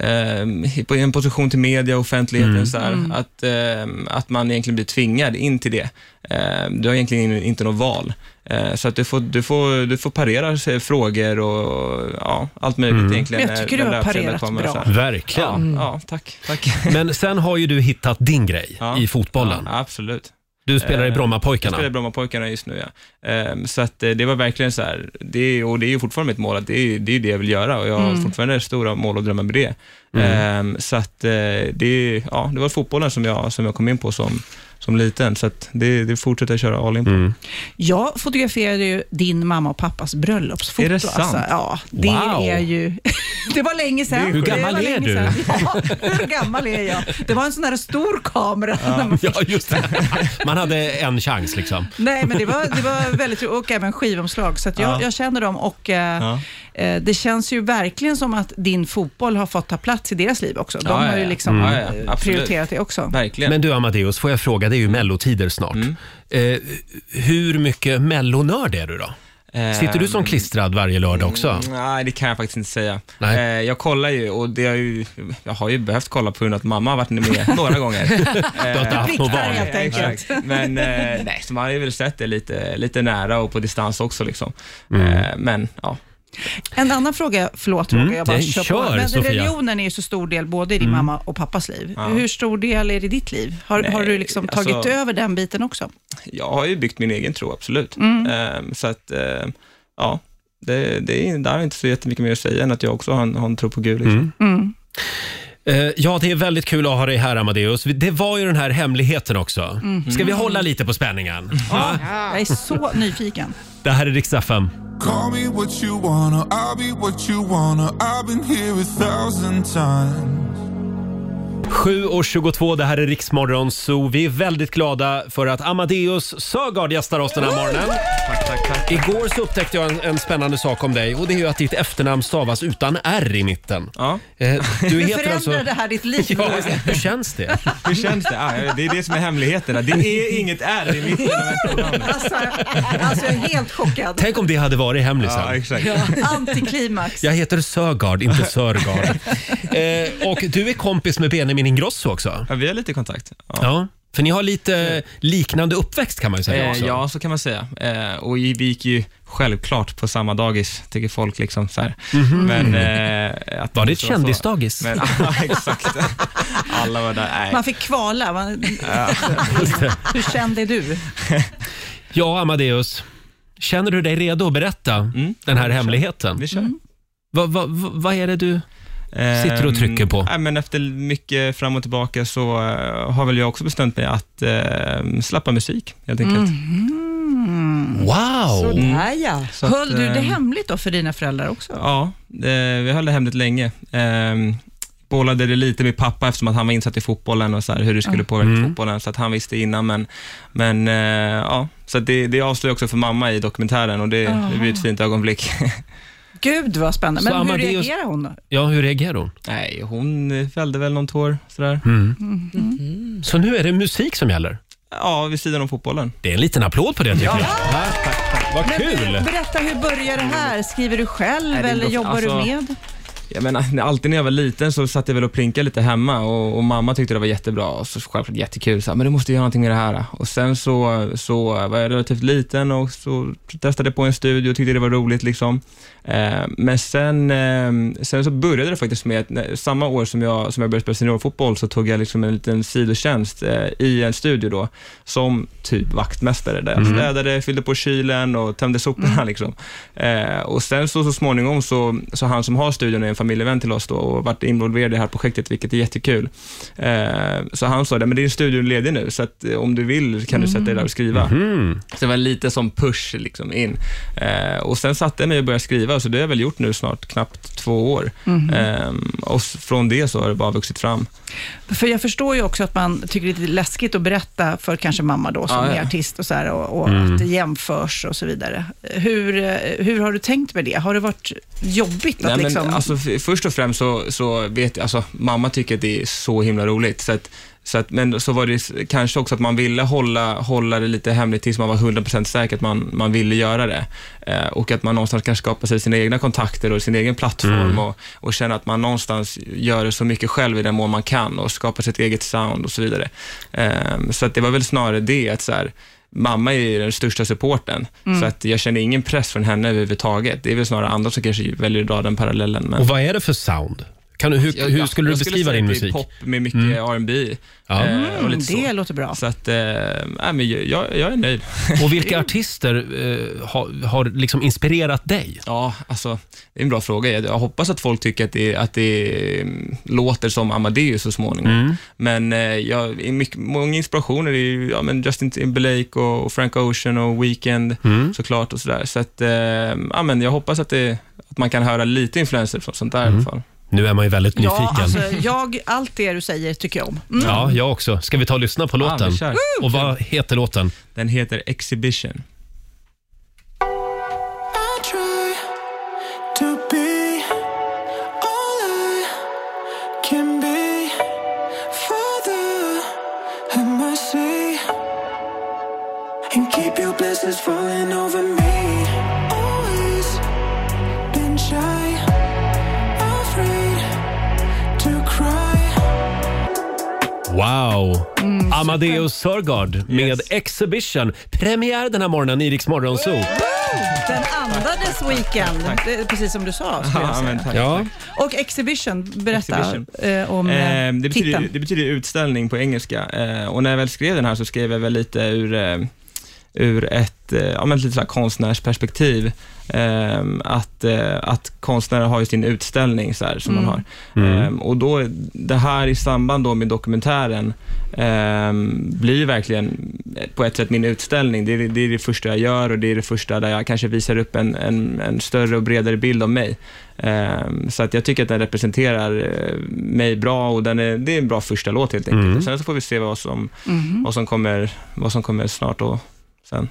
Speaker 8: eh, på- i en position till media och offentligheten,
Speaker 1: Mm.
Speaker 8: så här,
Speaker 1: Mm.
Speaker 8: att, eh, att man egentligen blir tvingad in till det. Eh, Du har egentligen in- inte något val. Eh, Så att du får, du får, du får parera sig frågor och ja, allt möjligt
Speaker 1: Mm.
Speaker 8: egentligen.
Speaker 5: Men jag tycker
Speaker 8: när-
Speaker 5: du
Speaker 8: när
Speaker 5: har
Speaker 8: löpsedlar
Speaker 5: parerat
Speaker 8: kommer och så här.
Speaker 1: Verkligen.
Speaker 8: Ja, ja, tack. tack.
Speaker 1: Men sen har ju du hittat din grej i fotbollen.
Speaker 8: Ja, absolut.
Speaker 1: Du spelar i
Speaker 8: Eh,
Speaker 1: Brommapojkarna.
Speaker 8: Jag spelar i Brommapojkarna just nu, ja. Ehm, Så att eh, det var verkligen så här, det är, och det är ju fortfarande mitt mål, att det är, det är ju det jag vill göra och jag har
Speaker 5: Mm.
Speaker 8: fortfarande stora mål och drömmar med det.
Speaker 1: Mm.
Speaker 8: Ehm, Så att eh, det, är- ja, det var fotbollen som jag, som jag kom in på som, som liten. Så att det, det fortsätter jag köra all in på.
Speaker 1: Mm.
Speaker 5: Jag fotograferade ju din mamma och pappas bröllopsfoto.
Speaker 8: Är det sant?
Speaker 5: Alltså, ja, det
Speaker 8: Wow.
Speaker 5: är ju... det var länge sedan.
Speaker 8: Det är Hur sjukt. gammal
Speaker 5: Det var
Speaker 8: är
Speaker 5: länge
Speaker 8: du?
Speaker 5: sedan. Ja, hur gammal är jag? Det var en sån här stor kamera. när man
Speaker 1: Ja, just det. Man hade en chans liksom.
Speaker 5: Nej, men det var, det var väldigt roligt och även skivomslag. Så att jag,
Speaker 1: Ja.
Speaker 5: jag känner dem och eh,
Speaker 1: Ja.
Speaker 5: eh, det känns ju verkligen som att din fotboll har fått ta plats i deras liv också. De
Speaker 1: Ja,
Speaker 5: har
Speaker 1: ja,
Speaker 5: ju
Speaker 1: ja.
Speaker 5: liksom
Speaker 1: Mm. Ja, ja,
Speaker 5: eh,
Speaker 1: absolut.
Speaker 5: prioriterat det också.
Speaker 1: Men du Amadeus, får jag fråga, det är ju mellotider snart.
Speaker 8: Mm.
Speaker 1: Eh, hur mycket mellonörd är du då? Sitter du som
Speaker 8: Ehm,
Speaker 1: klistrad varje lördag också?
Speaker 8: Mm, Nej, det kan jag faktiskt inte säga. Eh, jag kollar ju och det har ju, jag har ju behövt kolla på grund av att mamma har varit med några gånger. Ehm,
Speaker 1: Du har inte haft något val.
Speaker 8: Exakt.
Speaker 1: enkelt.
Speaker 8: Men eh, nej, så man har ju väl sett det lite, lite nära och på distans också. Liksom. Eh, men ja.
Speaker 5: En annan fråga, förlåt
Speaker 8: Mm,
Speaker 5: Roger, jag bara
Speaker 8: det-
Speaker 5: kör,
Speaker 8: kör,
Speaker 5: på. Men
Speaker 8: Sofia.
Speaker 5: religionen är ju så stor del både i din
Speaker 8: Mm.
Speaker 5: mamma och pappas liv.
Speaker 8: Ja.
Speaker 5: Hur stor del är det i ditt liv? Har,
Speaker 8: Nej,
Speaker 5: har du liksom tagit
Speaker 8: alltså-
Speaker 5: över den biten också?
Speaker 8: Jag har ju byggt min egen tro, absolut.
Speaker 5: Mm.
Speaker 8: Eh, så att, eh, ja, det, det är, där är inte så jättemycket mer att säga än att jag också har en, har en tro på Gud. Liksom.
Speaker 1: Eh, Ja, det är väldigt kul att ha dig här Amadeus. Det var ju den här hemligheten också.
Speaker 5: Mhm.
Speaker 1: Ska vi hålla lite på spänningen?
Speaker 8: Mm.
Speaker 5: Ja. Jag är så nyfiken.
Speaker 1: Det här är Rix FM.
Speaker 11: Call me what you wanna, I'll be what you wanna. I've been here a thousand times.
Speaker 1: 7.22, det här är Riksmorgon Zoo. Vi är väldigt glada för att Amadeus Sögaard gästar oss den här morgonen. Igår så upptäckte jag en, en spännande sak om dig och det är ju att ditt efternamn stavas utan R i mitten. Eh,
Speaker 5: Hur
Speaker 1: Du heter
Speaker 5: förändrar
Speaker 1: alltså...
Speaker 5: det här ditt liv?
Speaker 1: Ja, hur känns det?
Speaker 8: Hur känns det? Ah, det är det som är hemligheten. Det är inget R i mitten av efternamnet.
Speaker 5: Alltså, alltså, jag är helt chockad.
Speaker 1: Tänk om det hade varit hemlisen.
Speaker 5: Antiklimax.
Speaker 1: Jag heter Sögaard, inte Sörgaard. eh, och du är kompis med Benjamin Ingrosso också.
Speaker 8: Ja, vi har lite kontakt. Ja.
Speaker 1: för ni har lite liknande uppväxt kan man ju säga
Speaker 8: Eh,
Speaker 1: också.
Speaker 8: ja, så kan man säga. Eh, och vi gick ju självklart på samma dagis, tycker folk. liksom så här.
Speaker 1: Mhm.
Speaker 8: eh, att
Speaker 1: Var det ett
Speaker 8: så-
Speaker 1: kändisdagis?
Speaker 8: så- Men, ja, exakt. Alla var där. Nej.
Speaker 5: Man fick kvala. Man,
Speaker 8: Ja.
Speaker 5: Hur känd är du?
Speaker 1: Ja, Amadeus. Känner du dig redo att berätta den här hemligheten?
Speaker 8: Mm. Vi kör.
Speaker 1: Vad va, va, vad är det du sitter och trycker på?
Speaker 8: Eh, nej, men efter mycket fram och tillbaka så eh, har väl jag också bestämt mig att eh, släppa musik, helt enkelt.
Speaker 1: Mm. Wow!
Speaker 5: Sådär ja.
Speaker 8: Så att,
Speaker 5: Mm. Höll du det
Speaker 8: ehm,
Speaker 5: hemligt då för dina föräldrar också?
Speaker 8: Ja, eh, vi höll det hemligt länge. Eh, bollade det lite med pappa eftersom att han var insatt i fotbollen och så här, hur det skulle
Speaker 5: Ja.
Speaker 8: påverka
Speaker 5: Mm.
Speaker 8: fotbollen, så att han visste innan. Men, men eh, ja, så att det, det avslöjar också för mamma i dokumentären och det,
Speaker 5: Aha.
Speaker 8: det blir ett fint ögonblick.
Speaker 5: Gud vad spännande.
Speaker 8: Så
Speaker 5: Men hur
Speaker 8: Amadeus-
Speaker 5: reagerar hon då?
Speaker 1: Ja, hur reagerar hon?
Speaker 8: Nej, hon eh, fällde väl någon tår sådär.
Speaker 1: Mm.
Speaker 8: Mm.
Speaker 1: Så nu är det musik som gäller?
Speaker 8: Ja, vid sidan om fotbollen.
Speaker 1: Det är en liten applåd på det tycker
Speaker 8: Ja.
Speaker 1: jag. Va? Vad
Speaker 5: Men
Speaker 1: kul!
Speaker 5: Berätta, hur börjar det här? Skriver du själv
Speaker 8: Nej, det är
Speaker 5: eller
Speaker 8: bra-
Speaker 5: jobbar du
Speaker 8: alltså-
Speaker 5: med?
Speaker 8: Jag menar, när- alltid när jag var liten så satt jag väl och plinkade lite hemma och, och mamma tyckte det var jättebra och så självklart jättekul. Så här, men du måste göra någonting med det här. Och sen så, så var jag relativt liten och så testade jag på en studio och tyckte det var roligt. Liksom. Eh, men sen, eh, sen så började det faktiskt med att när, samma år som jag, som jag började spela seniorfotboll så tog jag liksom en liten sidotjänst eh, i en studio då som typ vaktmästare där jag
Speaker 1: Mm.
Speaker 8: städade, fyllde på kylen och tömde soporna. Liksom. Eh, och sen så, så småningom så, så han som har studion är en familjevän till oss då och varit involverad i det här projektet, vilket är jättekul. Eh, så han sa, "Nej, men din studio är ledig nu, så att, eh, om du vill kan du sätta dig där och skriva.
Speaker 1: Mhm. Mm.
Speaker 8: Så det var lite som push liksom in. Eh, och sen satte jag mig och började skriva, så det har jag väl gjort nu snart knappt två år.
Speaker 5: Mhm.
Speaker 8: Eh, och s- från det så har det bara vuxit fram.
Speaker 5: För jag förstår ju också att man tycker det är lite läskigt att berätta för kanske mamma då som
Speaker 8: Ja, ja.
Speaker 5: är artist och så här och, och
Speaker 8: Mm.
Speaker 5: att det jämförs och så vidare. Hur, eh, hur har du tänkt med det? Har det varit jobbigt att
Speaker 8: Nej,
Speaker 5: liksom...
Speaker 8: men, alltså, f- först och främst så, så vet jag, alltså, mamma tycker att det är så himla roligt. Så att, så att, men så var det s- kanske också att man ville hålla, hålla det lite hemligt tills man var 100% säker att man, man ville göra det. Eh, och att man någonstans kan skapa sig sina egna kontakter och sin egen plattform
Speaker 1: Mm.
Speaker 8: och, och känna att man någonstans gör det så mycket själv i den mån man kan och skapar sitt eget sound och så vidare. Eh, så att det var väl snarare det, att så här, mamma är ju den största supporten,
Speaker 1: Mm.
Speaker 8: så att jag känner ingen press från henne överhuvudtaget. Det är väl snarare andra som kanske väljer att dra den parallellen. Men...
Speaker 1: Och vad är det för sound? Kan du, hur,
Speaker 8: Jag-
Speaker 1: hur skulle du
Speaker 8: jag
Speaker 1: beskriva
Speaker 8: säga typ
Speaker 1: din
Speaker 8: att det är
Speaker 1: musik? Mm.
Speaker 8: pop med mycket R&B
Speaker 1: Ja.
Speaker 8: eh, och
Speaker 5: Mm,
Speaker 8: lite
Speaker 5: det
Speaker 8: så.
Speaker 5: låter bra.
Speaker 8: Så att, eh, nej, men jag, jag jag är nöjd.
Speaker 1: Och vilka artister eh, har, har liksom inspirerat dig?
Speaker 8: Ja, alltså, det är en bra fråga. Jag, jag hoppas att folk tycker att det, att det mm, låter som Amadeus så småningom.
Speaker 1: Mm.
Speaker 8: Men eh, jag, i mycket, många inspirationer är ju ja, men Justin Timberlake och, och Frank Ocean och Weekend
Speaker 1: Mm.
Speaker 8: såklart och sådär. Så att, eh, ja, men jag hoppas att, det, att man kan höra lite influenser från sånt där
Speaker 1: Mm.
Speaker 8: i alla fall.
Speaker 1: Nu är man ju väldigt nyfiken.
Speaker 5: Ja, alltså, jag, allt det du säger tycker jag om. Mm.
Speaker 1: Ja, jag också. Ska vi ta och lyssna på
Speaker 8: Ja,
Speaker 1: låten?
Speaker 8: vi kör.
Speaker 1: och vad heter låten?
Speaker 8: Den heter Exhibition.
Speaker 12: I try to be all I can be. Father, have mercy. And keep your blessings falling over me. Always been shy, afraid to cry.
Speaker 1: Wow!
Speaker 5: Mm,
Speaker 1: Amadeus Sörgard med Exhibition. Premiär den här morgonen i Rix Morgon Zoo.
Speaker 5: Den andades weekend, det är precis som du sa. skulle jag
Speaker 8: Ja,
Speaker 5: säga.
Speaker 8: men tack,
Speaker 1: Ja.
Speaker 5: Och exhibition, berätta
Speaker 8: Exhibition.
Speaker 5: Eh, om eh,
Speaker 8: Eh, det, betyder,
Speaker 5: titeln.
Speaker 8: det betyder utställning på engelska. Eh, och när jag väl skrev den här så skrev jag väl lite ur, eh, ur ett eh, ja, men lite så här konstnärsperspektiv. Eh, att, eh, att konstnärer har ju sin utställning så här, som
Speaker 15: Mm.
Speaker 8: man har. Ehm, och då, det här i samband då med dokumentären ehm, blir verkligen eh, på ett sätt min utställning. Det är, det är det första jag gör och det är det första där jag kanske visar upp en, en, en större och bredare bild av mig. Ehm, så att jag tycker att den representerar eh, mig bra och den är, det är en bra första låt helt enkelt.
Speaker 1: Mm.
Speaker 8: Och sen så får vi se vad som,
Speaker 5: Mhm.
Speaker 8: vad som, kommer, vad som kommer snart och sen.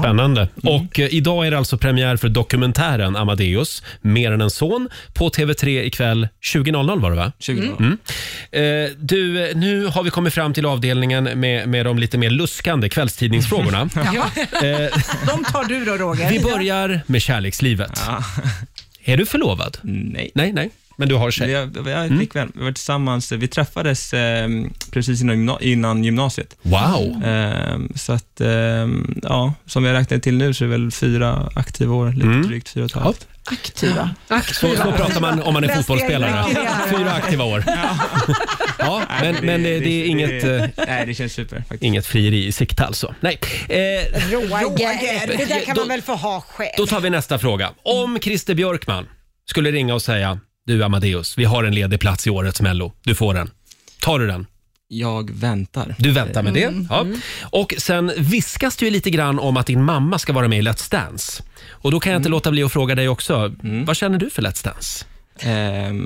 Speaker 1: Spännande.
Speaker 5: Mm.
Speaker 1: Och eh, idag är det alltså premiär för dokumentären Amadeus, Mer än en son, på TV3 ikväll 20.00 var det va?
Speaker 8: 20.00.
Speaker 1: Mm. Eh, du, eh, nu har vi kommit fram till avdelningen med, med de lite mer luskande kvällstidningsfrågorna.
Speaker 5: Ja.
Speaker 1: Eh,
Speaker 5: De tar du då Roger.
Speaker 1: Vi börjar med kärlekslivet. Är du förlovad?
Speaker 8: Nej.
Speaker 1: Nej, nej. Mm. Men du har tjej?
Speaker 8: Jag, jag är flickvän. Vi var tillsammans, vi träffades ehm, precis innan, gymna- innan gymnasiet.
Speaker 1: Wow.
Speaker 8: Ehm, så att, ehm, ja, som jag räknade till nu så är det väl fyra aktiva år, lite drygt fyra och ett halvt.
Speaker 5: Aktiva.
Speaker 1: Så, så pratar man om man är
Speaker 5: Läs
Speaker 1: fotbollsspelare.
Speaker 5: det här.
Speaker 1: Fyra aktiva år. Ja, men, men det, det är inget, eh,
Speaker 8: Nej, det känns super faktiskt.
Speaker 1: inget frieri i sikte alltså. Nej. Eh,
Speaker 16: Roger, det där kan
Speaker 1: Då-
Speaker 16: man väl få ha själv?
Speaker 1: Då tar vi nästa fråga. Om Christer Björkman skulle ringa och säga du Amadeus, vi har en ledig plats i årets Mello. Du får den. Tar du den?
Speaker 8: Jag väntar.
Speaker 1: Du väntar med
Speaker 8: Mm.
Speaker 1: det. Ja. Och sen viskas det ju lite grann om att din mamma ska vara med i Let's Dance. Och då kan jag
Speaker 8: Mm.
Speaker 1: inte låta bli att fråga dig också. Vad känner du för Let's Dance?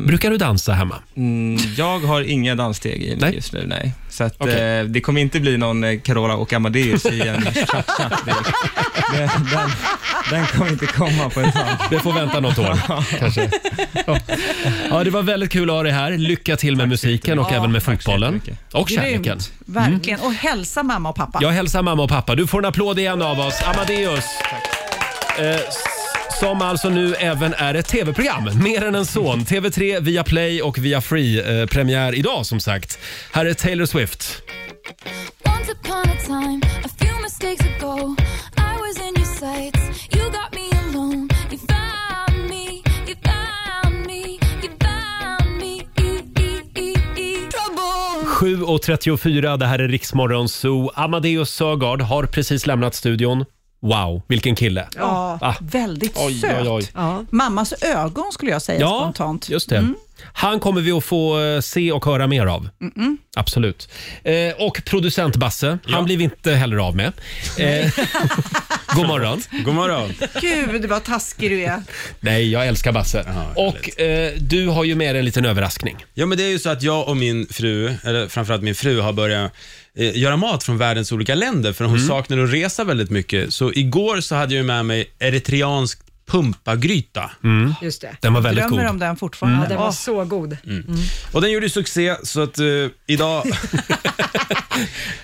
Speaker 1: Brukar du dansa hemma?
Speaker 8: Ehm, Mm, jag har inga danssteg i mig just nu, nej. Så att, eh, det kommer inte bli någon eh, Carola och Amadeus i en cha-cha direkt. den, den, den kommer inte komma på en hand.
Speaker 1: Det får vänta något år, kanske. Ja. ja, det var väldigt kul att ha dig här. Lycka till med musiken och
Speaker 5: jättemycket.
Speaker 1: även med fotbollen. Och kärleken.
Speaker 5: Grymt, verkligen. Och hälsa mamma och pappa.
Speaker 1: Jag hälsar mamma och pappa. Du får en applåd igen av oss. Amadeus. Eh, s- som alltså nu även är ett tv-program. Mer än en son. TV3, via Play och via Free. Eh, premiär idag som sagt. Här är Taylor Swift.
Speaker 17: Once upon a time, a few mistakes ago, I was in your sights. You got me alone. You found me. You found me. You found me. Trouble.
Speaker 1: 7.34, det här är Riksmorgon Zoo. Amadeus Sögaard har precis lämnat studion. Wow, vilken kille.
Speaker 5: Ja,
Speaker 1: Ah.
Speaker 5: Väldigt
Speaker 1: Oj,
Speaker 5: söt.
Speaker 1: oj, oj.
Speaker 5: Mammas ögon skulle jag säga
Speaker 1: Ja,
Speaker 5: spontant. Mm.
Speaker 1: just det. Han kommer vi att få eh, se och höra mer av.
Speaker 5: Mm-mm.
Speaker 1: Absolut. Eh, och producent Basse, han blir vi inte heller av med. Eh, god morgon.
Speaker 18: God morgon.
Speaker 5: Gud vad taskig du är.
Speaker 1: Nej, jag älskar Basse. och eh, du har ju med dig en liten överraskning.
Speaker 18: Ja, men det är ju så att jag och min fru, eller framförallt min fru, har börjat eh, göra mat från världens olika länder, för
Speaker 1: Mm.
Speaker 18: hon saknar att resa väldigt mycket. Så igår så hade jag ju med mig eritreansk pumpagryta.
Speaker 1: Mm.
Speaker 2: Just det.
Speaker 18: Den var väldigt
Speaker 5: Drömmer
Speaker 18: god.
Speaker 5: om den fortfarande.
Speaker 18: Mm.
Speaker 2: Ja, den var
Speaker 5: Åh.
Speaker 2: så god.
Speaker 18: Och den gjorde ju succé, så att eh, idag...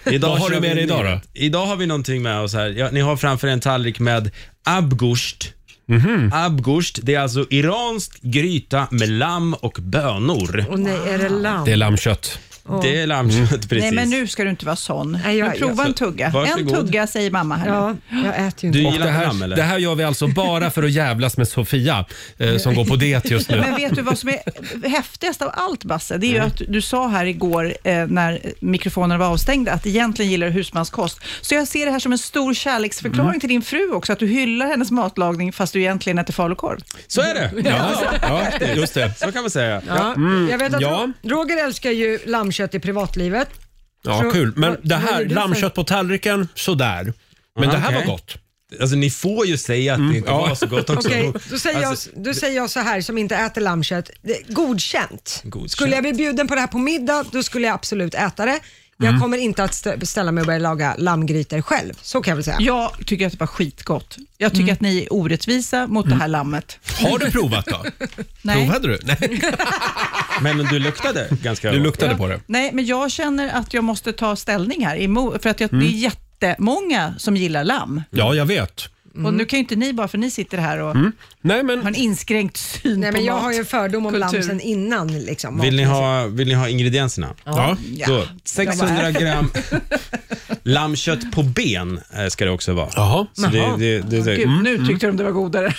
Speaker 1: Vad har
Speaker 18: kör
Speaker 1: du med
Speaker 18: vi
Speaker 1: dig idag då?
Speaker 18: Idag har vi någonting med oss här. Ja, ni har framför en tallrik med abgurst.
Speaker 1: Mhm.
Speaker 18: mm Abgurst, det är alltså iransk gryta med lamm och bönor.
Speaker 2: Och nej, är det lamm?
Speaker 1: Det är lammkött.
Speaker 18: Det är larmkött, precis.
Speaker 5: Nej, men nu ska du inte vara sån.
Speaker 2: jag-
Speaker 5: nu prova
Speaker 2: jag-
Speaker 5: en tugga.
Speaker 18: Varsågod.
Speaker 5: En tugga säger mamma här
Speaker 2: Ja, jag äter ju inte.
Speaker 18: gillar
Speaker 1: det,
Speaker 18: program, eller?
Speaker 1: här, det här gör vi alltså bara för att jävlas med Sofia eh, som går på det just nu.
Speaker 5: Men vet du vad som är häftigast av allt, Basse? Det är ju
Speaker 18: Mm.
Speaker 5: att du sa här igår eh, när mikrofonerna var avstängda att egentligen gillar du husmanskost. Så jag ser det här som en stor kärleksförklaring
Speaker 18: Mm.
Speaker 5: till din fru också, att du hyllar hennes matlagning fast du egentligen äter falukorv.
Speaker 18: Så är det. Ja, ja, just det. Så kan man säga.
Speaker 2: Ja, Jag vet att
Speaker 18: ja.
Speaker 2: Ro- Roger älskar ju lammkött i privatlivet.
Speaker 1: Ja,
Speaker 2: Så-
Speaker 1: kul. Men
Speaker 2: vad-
Speaker 1: det
Speaker 2: vad
Speaker 1: här,
Speaker 2: gjorde du för-
Speaker 1: lammkött på tallriken, sådär. Men
Speaker 18: Ja,
Speaker 1: det här
Speaker 18: okej.
Speaker 1: var gott. Mm.
Speaker 18: Alltså ni får ju säga att det inte var så gott också.
Speaker 2: Okej, då, säger
Speaker 18: Alltså,
Speaker 2: jag, då säger jag så här som inte äter lammkött. Det- Godkänt.
Speaker 18: Godkänt.
Speaker 2: Skulle jag bli bjuden på det här på middag, då skulle jag absolut äta det. Jag
Speaker 5: Mm.
Speaker 2: kommer inte att st- ställa mig och börja laga lammgrytor själv. Så kan jag väl säga.
Speaker 5: Jag tycker att det var skitgott. Jag tycker att ni är orättvisa mot det här
Speaker 18: Mm.
Speaker 5: lammet.
Speaker 1: Har du provat då?
Speaker 5: Nej.
Speaker 1: Provade du? Nej.
Speaker 18: Men du luktade ganska
Speaker 1: Du luktade på det.
Speaker 5: Nej, men jag känner att jag måste ta ställning här, emo- för att jag,
Speaker 1: Mm.
Speaker 5: det är jättemånga som gillar lamm.
Speaker 1: Ja, jag vet.
Speaker 5: Och nu kan ju inte ni bara, för ni sitter här och
Speaker 1: Mm. Nej, men...
Speaker 5: har en inskränkt syn
Speaker 2: Nej,
Speaker 5: på
Speaker 2: men jag
Speaker 5: mat.
Speaker 2: har ju en fördom om lamm
Speaker 5: Kultur.
Speaker 2: sen innan. Liksom,
Speaker 18: Vill ni, ha, vill ni ha ingredienserna?
Speaker 2: Ja.
Speaker 18: Så,
Speaker 2: Ja.
Speaker 18: 600 gram lammkött på ben eh, ska det också vara.
Speaker 1: Jaha.
Speaker 18: Så det, det, det, det.
Speaker 5: Gud,
Speaker 1: Mm.
Speaker 5: nu tyckte de det var godare.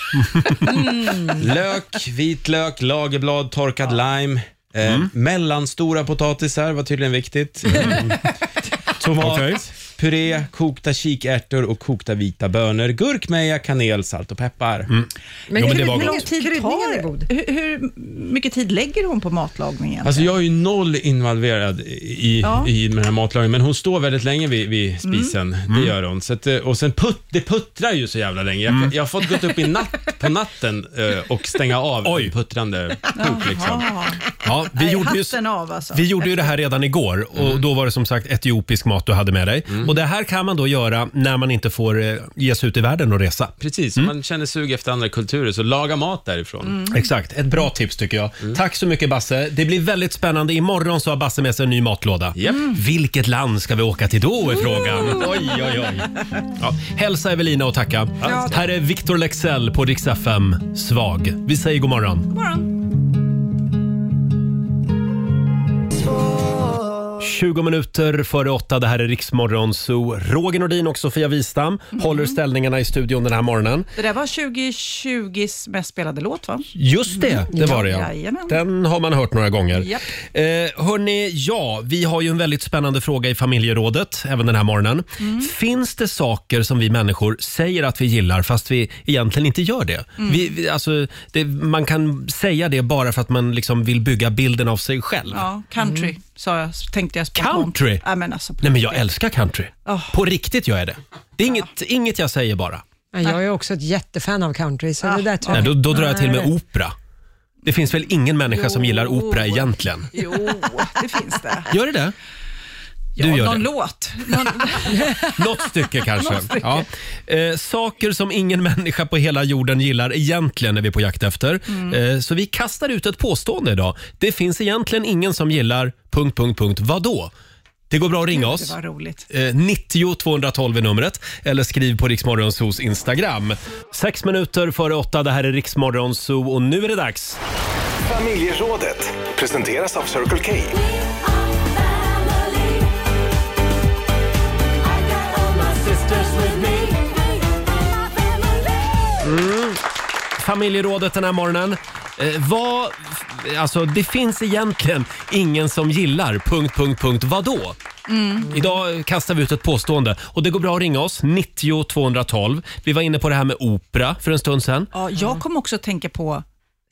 Speaker 18: Lök, vitlök, lagerblad, torkad lime. Eh, Mellanstora potatisar var tydligen viktigt. Tomat, puré, kokta kikärtor och kokta vita bönor. Gurkmeja, kanel, salt och peppar.
Speaker 5: Men, krydd- hur lång tid tar det? Hur, hur mycket tid lägger hon på matlagningen?
Speaker 18: Alltså jag är ju noll involverad i,
Speaker 5: Ja.
Speaker 18: i den här matlagningen, men hon står väldigt länge vid,
Speaker 19: Mm.
Speaker 18: vid spisen. Det gör hon. Så att, eh, och sen putt, det puttrar ju så jävla länge. Jag, jag har fått gått upp i natt, på natten eh, och stänga av en puttrande kok. Liksom.
Speaker 1: Ja, vi
Speaker 5: Nej,
Speaker 1: gjorde ju-
Speaker 5: hatten av alltså.
Speaker 1: Vi gjorde ju det här redan igår och då var det som sagt etiopisk mat du hade med dig. Och det här kan man då göra när man inte får eh, ge sig ut i världen och resa.
Speaker 18: Precis, om man känner sug efter andra kulturer, så laga mat därifrån.
Speaker 1: Mm. Exakt, ett bra tips tycker jag. Tack så mycket Basse. Det blir väldigt spännande. Imorgon så har Basse med sig en ny matlåda. Mm. Vilket land ska vi åka till då är frågan. Oj, oj, oj. Ja. Hälsa Evelina och tacka.
Speaker 5: Ja.
Speaker 1: Här är Victor Lexell på Rix FM, Svag. Vi säger god morgon.
Speaker 5: God morgon.
Speaker 1: 20 minuter före åtta, det här är Riksmorgon Zoo. Roger Nordin och Sofia Wistam håller ställningarna i studion den här morgonen.
Speaker 5: Det där var 2020s mest spelade låt va?
Speaker 1: Just det, det var det
Speaker 5: Ja,
Speaker 1: ja.
Speaker 5: Mm. jajamän.
Speaker 1: Den har man hört några gånger.
Speaker 5: Japp.
Speaker 1: Eh, hörni, ja, vi har ju en väldigt spännande fråga i familjerådet även den här morgonen.
Speaker 5: Mm.
Speaker 1: Finns det saker som vi människor säger att vi gillar fast vi egentligen inte gör det?
Speaker 18: Mm.
Speaker 1: Vi, vi- alltså, det man kan säga det bara för att man liksom vill bygga bilden av sig själv.
Speaker 5: Ja, country sa jag, tänkte jag spontant.
Speaker 1: Mm. Country?
Speaker 5: Ja, men alltså,
Speaker 1: Nej, men jag älskar country.
Speaker 5: Åh.
Speaker 1: På riktigt gör jag det. Det är inget, inget jag säger bara.
Speaker 2: Men jag är också ett jättefan av country,
Speaker 5: Ah.
Speaker 2: så det där tror
Speaker 1: Nej,
Speaker 2: jag.
Speaker 1: då, då drar jag till med
Speaker 2: Nej.
Speaker 1: opera. Det finns väl ingen människa som gillar opera egentligen?
Speaker 5: Jo, det finns det.
Speaker 1: Gör det det? Du
Speaker 5: ja,
Speaker 1: gör
Speaker 5: någon
Speaker 1: det.
Speaker 5: låt. Någon...
Speaker 1: Något stycke kanske.
Speaker 5: Något stycke.
Speaker 1: Ja. Eh, saker som ingen människa på hela jorden gillar egentligen är vi på jakt efter. Eh, så vi kastar ut ett påstående idag. Det finns egentligen ingen som gillar... Punkt, punkt, punkt. Vadå? Det går bra att ringa oss.
Speaker 5: Det var roligt.
Speaker 1: Eh, 90 212 är numret eller skriv på Riksmorgonsos Instagram. Sex minuter före åtta, det här är Riksmorgonso och nu är det dags.
Speaker 3: Familjerådet presenteras av Circle K.
Speaker 1: Mm. Familjerådet den här morgonen. Eh, vad, alltså det finns egentligen ingen som gillar... Punkt, punkt, punkt. Vadå?
Speaker 5: Mm.
Speaker 1: Idag kastar vi ut ett påstående och det går bra att ringa oss, 90 212. Vi var inne på det här med opera för en stund sedan.
Speaker 5: Ja, jag kom också att tänka på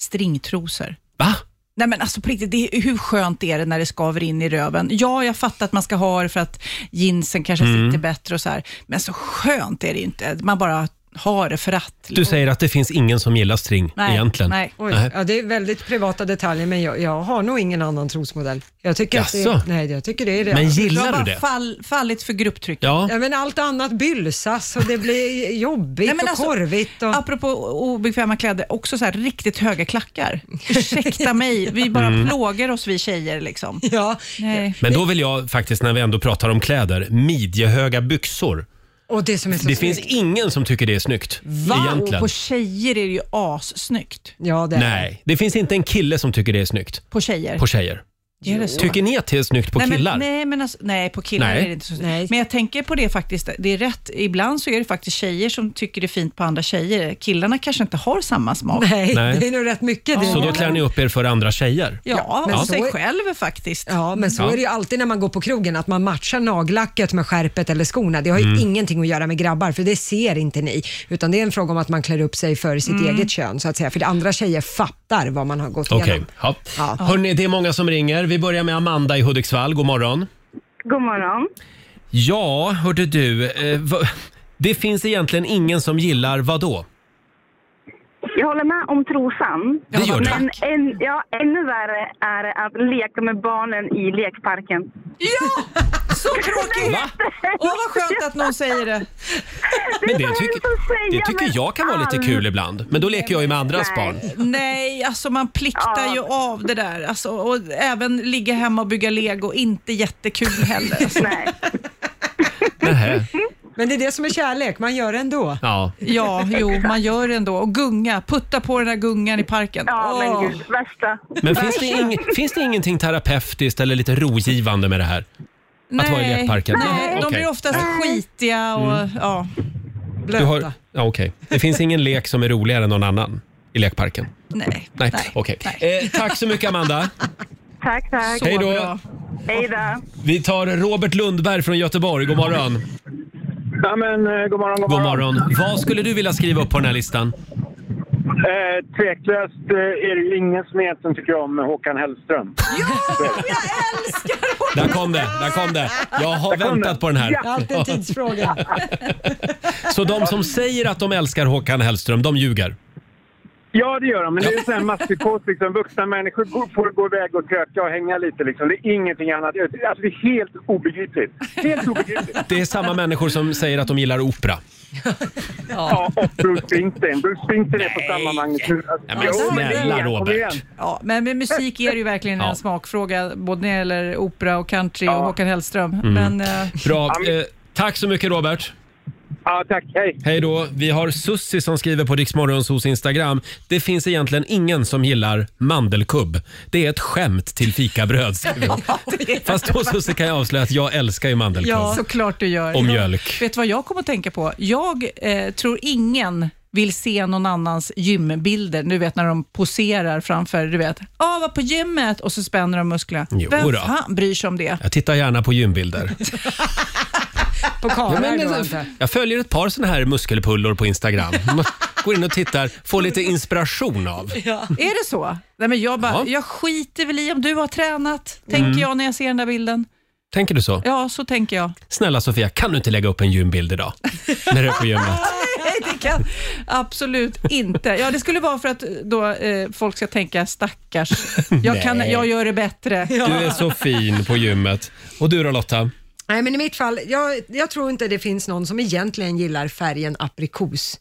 Speaker 5: stringtrosor.
Speaker 1: Va?
Speaker 5: Nej men alltså på riktigt, det är, hur skönt är det när det skaver in i röven? Ja, jag fattar att man ska ha det för att jeansen kanske
Speaker 1: Mm.
Speaker 5: sitter bättre och så här, men så skönt är det inte. Man bara har det för att. liksom.
Speaker 1: Du säger att det finns ingen som gillar string egentligen.
Speaker 2: Oj, ja, det är väldigt privata detaljer, men jag, jag har nog ingen annan trosmodell. Jag tycker, att det,
Speaker 1: Jaså?
Speaker 2: nej, jag tycker det är det.
Speaker 1: Men gillar
Speaker 5: jag har
Speaker 1: du
Speaker 5: bara
Speaker 1: det?
Speaker 5: Fall, fallit för grupptryck.
Speaker 1: Ja.
Speaker 2: men allt annat bylsas och det blir jobbigt
Speaker 5: Nej, men
Speaker 2: och
Speaker 5: alltså,
Speaker 2: korvigt. Och...
Speaker 5: Apropå obekväma kläder, också så här riktigt höga klackar. Ursäkta mig, vi bara
Speaker 1: Mm.
Speaker 5: plågar oss vi tjejer liksom.
Speaker 2: Ja.
Speaker 5: Nej.
Speaker 1: Men då vill jag faktiskt, när vi ändå pratar om kläder, midjehöga byxor.
Speaker 2: Och det som är så
Speaker 1: Det
Speaker 2: snyggt.
Speaker 1: finns ingen som tycker det är snyggt.
Speaker 5: Va? Och
Speaker 1: Egentligen.
Speaker 5: på tjejer är det ju assnyggt.
Speaker 2: Ja,
Speaker 1: Nej, det finns inte en kille som tycker det är snyggt.
Speaker 5: På tjejer?
Speaker 1: På tjejer.
Speaker 5: Är det så?
Speaker 1: Tycker ni att det är snyggt på
Speaker 5: nej,
Speaker 1: killar?
Speaker 5: Men, nej, men alltså, nej, på killar
Speaker 1: Nej.
Speaker 5: är det inte så Men jag tänker på det faktiskt, det är rätt. Ibland så är det faktiskt tjejer som tycker det är fint på andra tjejer. Killarna kanske inte har samma smak.
Speaker 1: Nej, Nej. det är
Speaker 2: nog rätt mycket
Speaker 1: Så då klär ni upp er för andra tjejer?
Speaker 5: Ja, men sig
Speaker 2: är-
Speaker 5: själv faktiskt.
Speaker 2: Ja, men så
Speaker 1: Ja.
Speaker 2: är det ju alltid när man går på krogen, att man matchar nagellacket med skärpet eller skorna. Det har ju
Speaker 1: Mm.
Speaker 2: ingenting att göra med grabbar, för det ser inte ni. Utan det är en fråga om att man klär upp sig för sitt
Speaker 1: Mm.
Speaker 2: eget kön, så att säga. För det andra tjejer fattar vad man har gått
Speaker 1: Okej.
Speaker 2: igenom.
Speaker 1: Ja. Hörrni, det är många som ringer. Vi börjar med Amanda i Hudiksvall. God morgon.
Speaker 15: God morgon.
Speaker 1: Ja, hörde du. Eh, va, det finns egentligen ingen som gillar vad då?
Speaker 15: Jag håller med om trosan.
Speaker 1: Det gör du.
Speaker 15: Men en, ja, ännu värre är det att leka med barnen i lekparken.
Speaker 5: Ja! Så tråkigt! Åh, vad skönt att någon säger det.
Speaker 1: Men det, tycker, det tycker jag kan vara lite kul ibland. Men då leker jag ju med andras barn.
Speaker 5: Nej, alltså man pliktar ju av det där. Alltså, och även ligga hemma och bygga lego, inte jättekul heller. Alltså.
Speaker 1: Nähä.
Speaker 2: Men det är det som är kärlek, man gör det ändå.
Speaker 1: Ja.
Speaker 5: Ja, jo, man gör det ändå. Och gunga, putta på den där gungan i parken. Ja,
Speaker 15: men gud, värsta.
Speaker 1: Men finns det, ing, finns det ingenting terapeutiskt eller lite rogivande med det här? Att vara i lekparken?
Speaker 5: Nej, de
Speaker 1: Okej.
Speaker 5: blir oftast skitiga och
Speaker 1: Mm.
Speaker 5: ja,
Speaker 1: Du
Speaker 5: blöta.
Speaker 1: har, ja, okej. Det finns ingen lek som är roligare än någon annan i lekparken?
Speaker 5: Nej.
Speaker 1: Nej, okej. Eh, tack så mycket Amanda.
Speaker 15: Tack, tack.
Speaker 1: Så Hej då. bra.
Speaker 15: Hej då.
Speaker 1: Vi tar Robert Lundberg från Göteborg. God morgon.
Speaker 19: Ja, men, eh, god morgon, god
Speaker 1: God
Speaker 19: morgon.
Speaker 1: morgon. Vad skulle du vilja skriva upp på den här listan?
Speaker 19: Eh, tveklöst eh, är det ju ingen smet som tycker om Håkan Hellström.
Speaker 1: Där kom det, där kom det. Jag har
Speaker 19: Där kom
Speaker 1: väntat
Speaker 19: den.
Speaker 1: på den här.
Speaker 19: Ja. Alltid en tidsfråga.
Speaker 1: Så de som säger att de älskar Håkan Hellström, de ljuger?
Speaker 19: Ja, det gör de, men det är ju sån här masspsykos. Liksom. Vuxna människor går, får gå iväg och kröka och hänga lite. Liksom. Det är ingenting annat. Alltså, det är helt obegripligt. Helt obegripligt.
Speaker 1: Det är samma människor som säger att de gillar opera.
Speaker 19: Ja, och Bruce Springsteen. Bruce Springsteen är på samma magnitud. Alltså,
Speaker 1: Nej, men
Speaker 19: jo, men det är-
Speaker 1: snälla,
Speaker 19: kom
Speaker 1: Robert.
Speaker 19: igen.
Speaker 5: Ja, men med musik är det ju verkligen
Speaker 1: Ja.
Speaker 5: en smakfråga, både när det gäller opera och country och Håkan Hellström.
Speaker 1: Mm.
Speaker 5: Men, eh,
Speaker 1: Bra. Eh, tack så mycket Robert.
Speaker 19: Ja, tack. Hej.
Speaker 1: Hej då. Vi har Sussi som skriver på Riksmorgonsos Instagram. Det finns egentligen ingen som gillar mandelkubb. Det är ett skämt till fikabröd. skriver hon. Fast då Sussi kan jag avslöja att jag älskar ju mandelkubb.
Speaker 5: Ja, såklart du gör.
Speaker 1: Och mjölk.
Speaker 5: Vet du vad jag kommer att tänka på? Jag eh, tror ingen vill se någon annans gymbilder. Du vet när de poserar framför, du vet, ah, var på gymmet och så spänner de musklerna.
Speaker 1: Jo
Speaker 5: Vem
Speaker 1: då.
Speaker 5: fan bryr sig om det?
Speaker 1: Jag tittar gärna på gymbilder.
Speaker 2: På
Speaker 1: Ja, men
Speaker 2: karlar då,
Speaker 1: det-
Speaker 2: inte.
Speaker 1: jag följer ett par såna här muskelpullor på Instagram. Man Går in och tittar, får lite inspiration av.
Speaker 5: Är det så? Nej, men jag, bara, jag skiter väl i om du har tränat,
Speaker 1: Mm.
Speaker 5: tänker jag när jag ser den där bilden.
Speaker 1: Tänker du så?
Speaker 5: Ja, så tänker jag.
Speaker 1: Snälla Sofia, kan du inte lägga upp en gymbild idag? När du är på gymmet.
Speaker 5: Nej, det kan absolut inte. Ja, det skulle vara för att då eh, folk ska tänka stackars, jag, kan,
Speaker 1: Nej.
Speaker 5: jag gör det bättre.
Speaker 1: Du är så fin på gymmet. Och du då Lotta?
Speaker 2: Nej, men i mitt fall, jag, jag tror inte det finns någon som egentligen gillar färgen aprikos.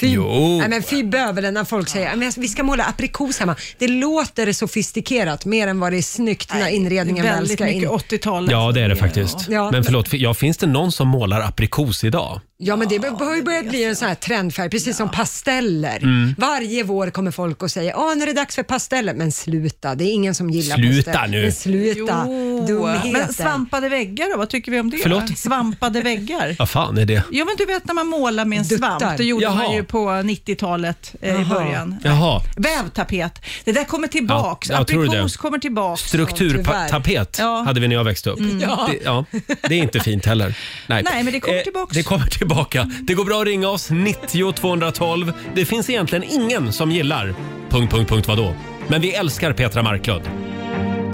Speaker 2: Fy,
Speaker 1: Jo.
Speaker 2: Nej, men fy bövelen när folk säger "Ja, men vi ska måla aprikos hemma. Det låter sofistikerat mer än vad det är snyggt när inredningen väl
Speaker 5: Väldigt
Speaker 2: ska in.
Speaker 5: mycket 80-tal.
Speaker 1: Ja, det är det faktiskt.
Speaker 2: Ja.
Speaker 1: Men förlåt, fi- ja, finns det någon som målar aprikos idag?
Speaker 2: Ja, men det har ju börjat bli en sån här trendfärg, precis som pasteller.
Speaker 1: Mm.
Speaker 2: Varje vår kommer folk och säger åh nu är det dags för pasteller. Men sluta, det är ingen som gillar
Speaker 1: Sluta
Speaker 2: pasteller.
Speaker 1: nu.
Speaker 2: Men sluta, dumheter.
Speaker 5: Men svampade väggar då, vad tycker vi om det?
Speaker 1: Förlåt?
Speaker 5: Svampade väggar.
Speaker 1: Vad fan är det?
Speaker 5: Ja, men du vet när man målar med en svamp, det gjorde
Speaker 1: Jaha.
Speaker 5: man ju på 90-talet eh, i
Speaker 1: Jaha.
Speaker 5: början.
Speaker 1: Jaha.
Speaker 5: Vävtapet. Det där kommer tillbaks.
Speaker 1: Ja, jag tror det.
Speaker 5: Aprikos kommer tillbaks.
Speaker 1: Strukturtapet
Speaker 5: Ja.
Speaker 1: hade vi när jag växte upp.
Speaker 5: Mm. Ja.
Speaker 1: Det, ja, det är inte fint heller. Nej, Eh,
Speaker 5: Nej, men det kommer tillbaks.
Speaker 1: Det kommer tillbaka. Det går bra att ringa oss, 90 212. Det finns egentligen ingen som gillar... Punkt, punkt, punkt vadå? Men vi älskar Petra Marklund.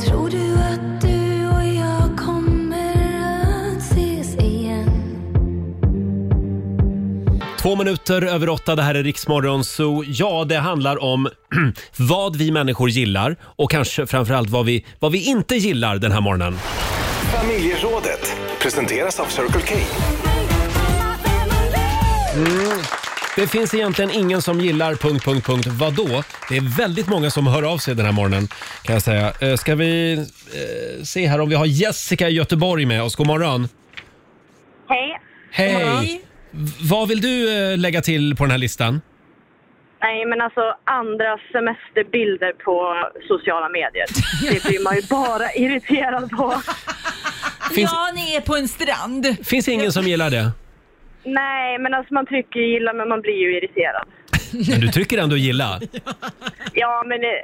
Speaker 17: Tror du att du och jag kommer att ses igen?
Speaker 1: Två minuter över åtta, det här är Riksmorgon Zoo. Ja, det handlar om vad vi människor gillar och kanske framförallt vad vi, vad vi inte gillar den här morgonen.
Speaker 3: Familjerådet presenteras av Circle K.
Speaker 1: Mm. Det finns egentligen ingen som gillar... Punkt, punkt, punkt. Vadå? Det är väldigt många som hör av sig den här morgonen. Kan jag säga. Eh, Ska vi eh, se här om vi har Jessica i Göteborg med oss. God morgon.
Speaker 15: Hej.
Speaker 1: Hej! V- Vad vill du eh, lägga till på den här listan?
Speaker 15: Nej, men alltså andra semesterbilder på sociala medier. Det blir man ju bara irriterad på.
Speaker 1: Finns-
Speaker 15: Ja, ni är på en strand.
Speaker 1: Finns ingen som gillar det?
Speaker 15: Nej, men alltså man trycker ju gilla men man blir ju irriterad.
Speaker 1: Men du tycker ändå gilla?
Speaker 15: Ja, men det,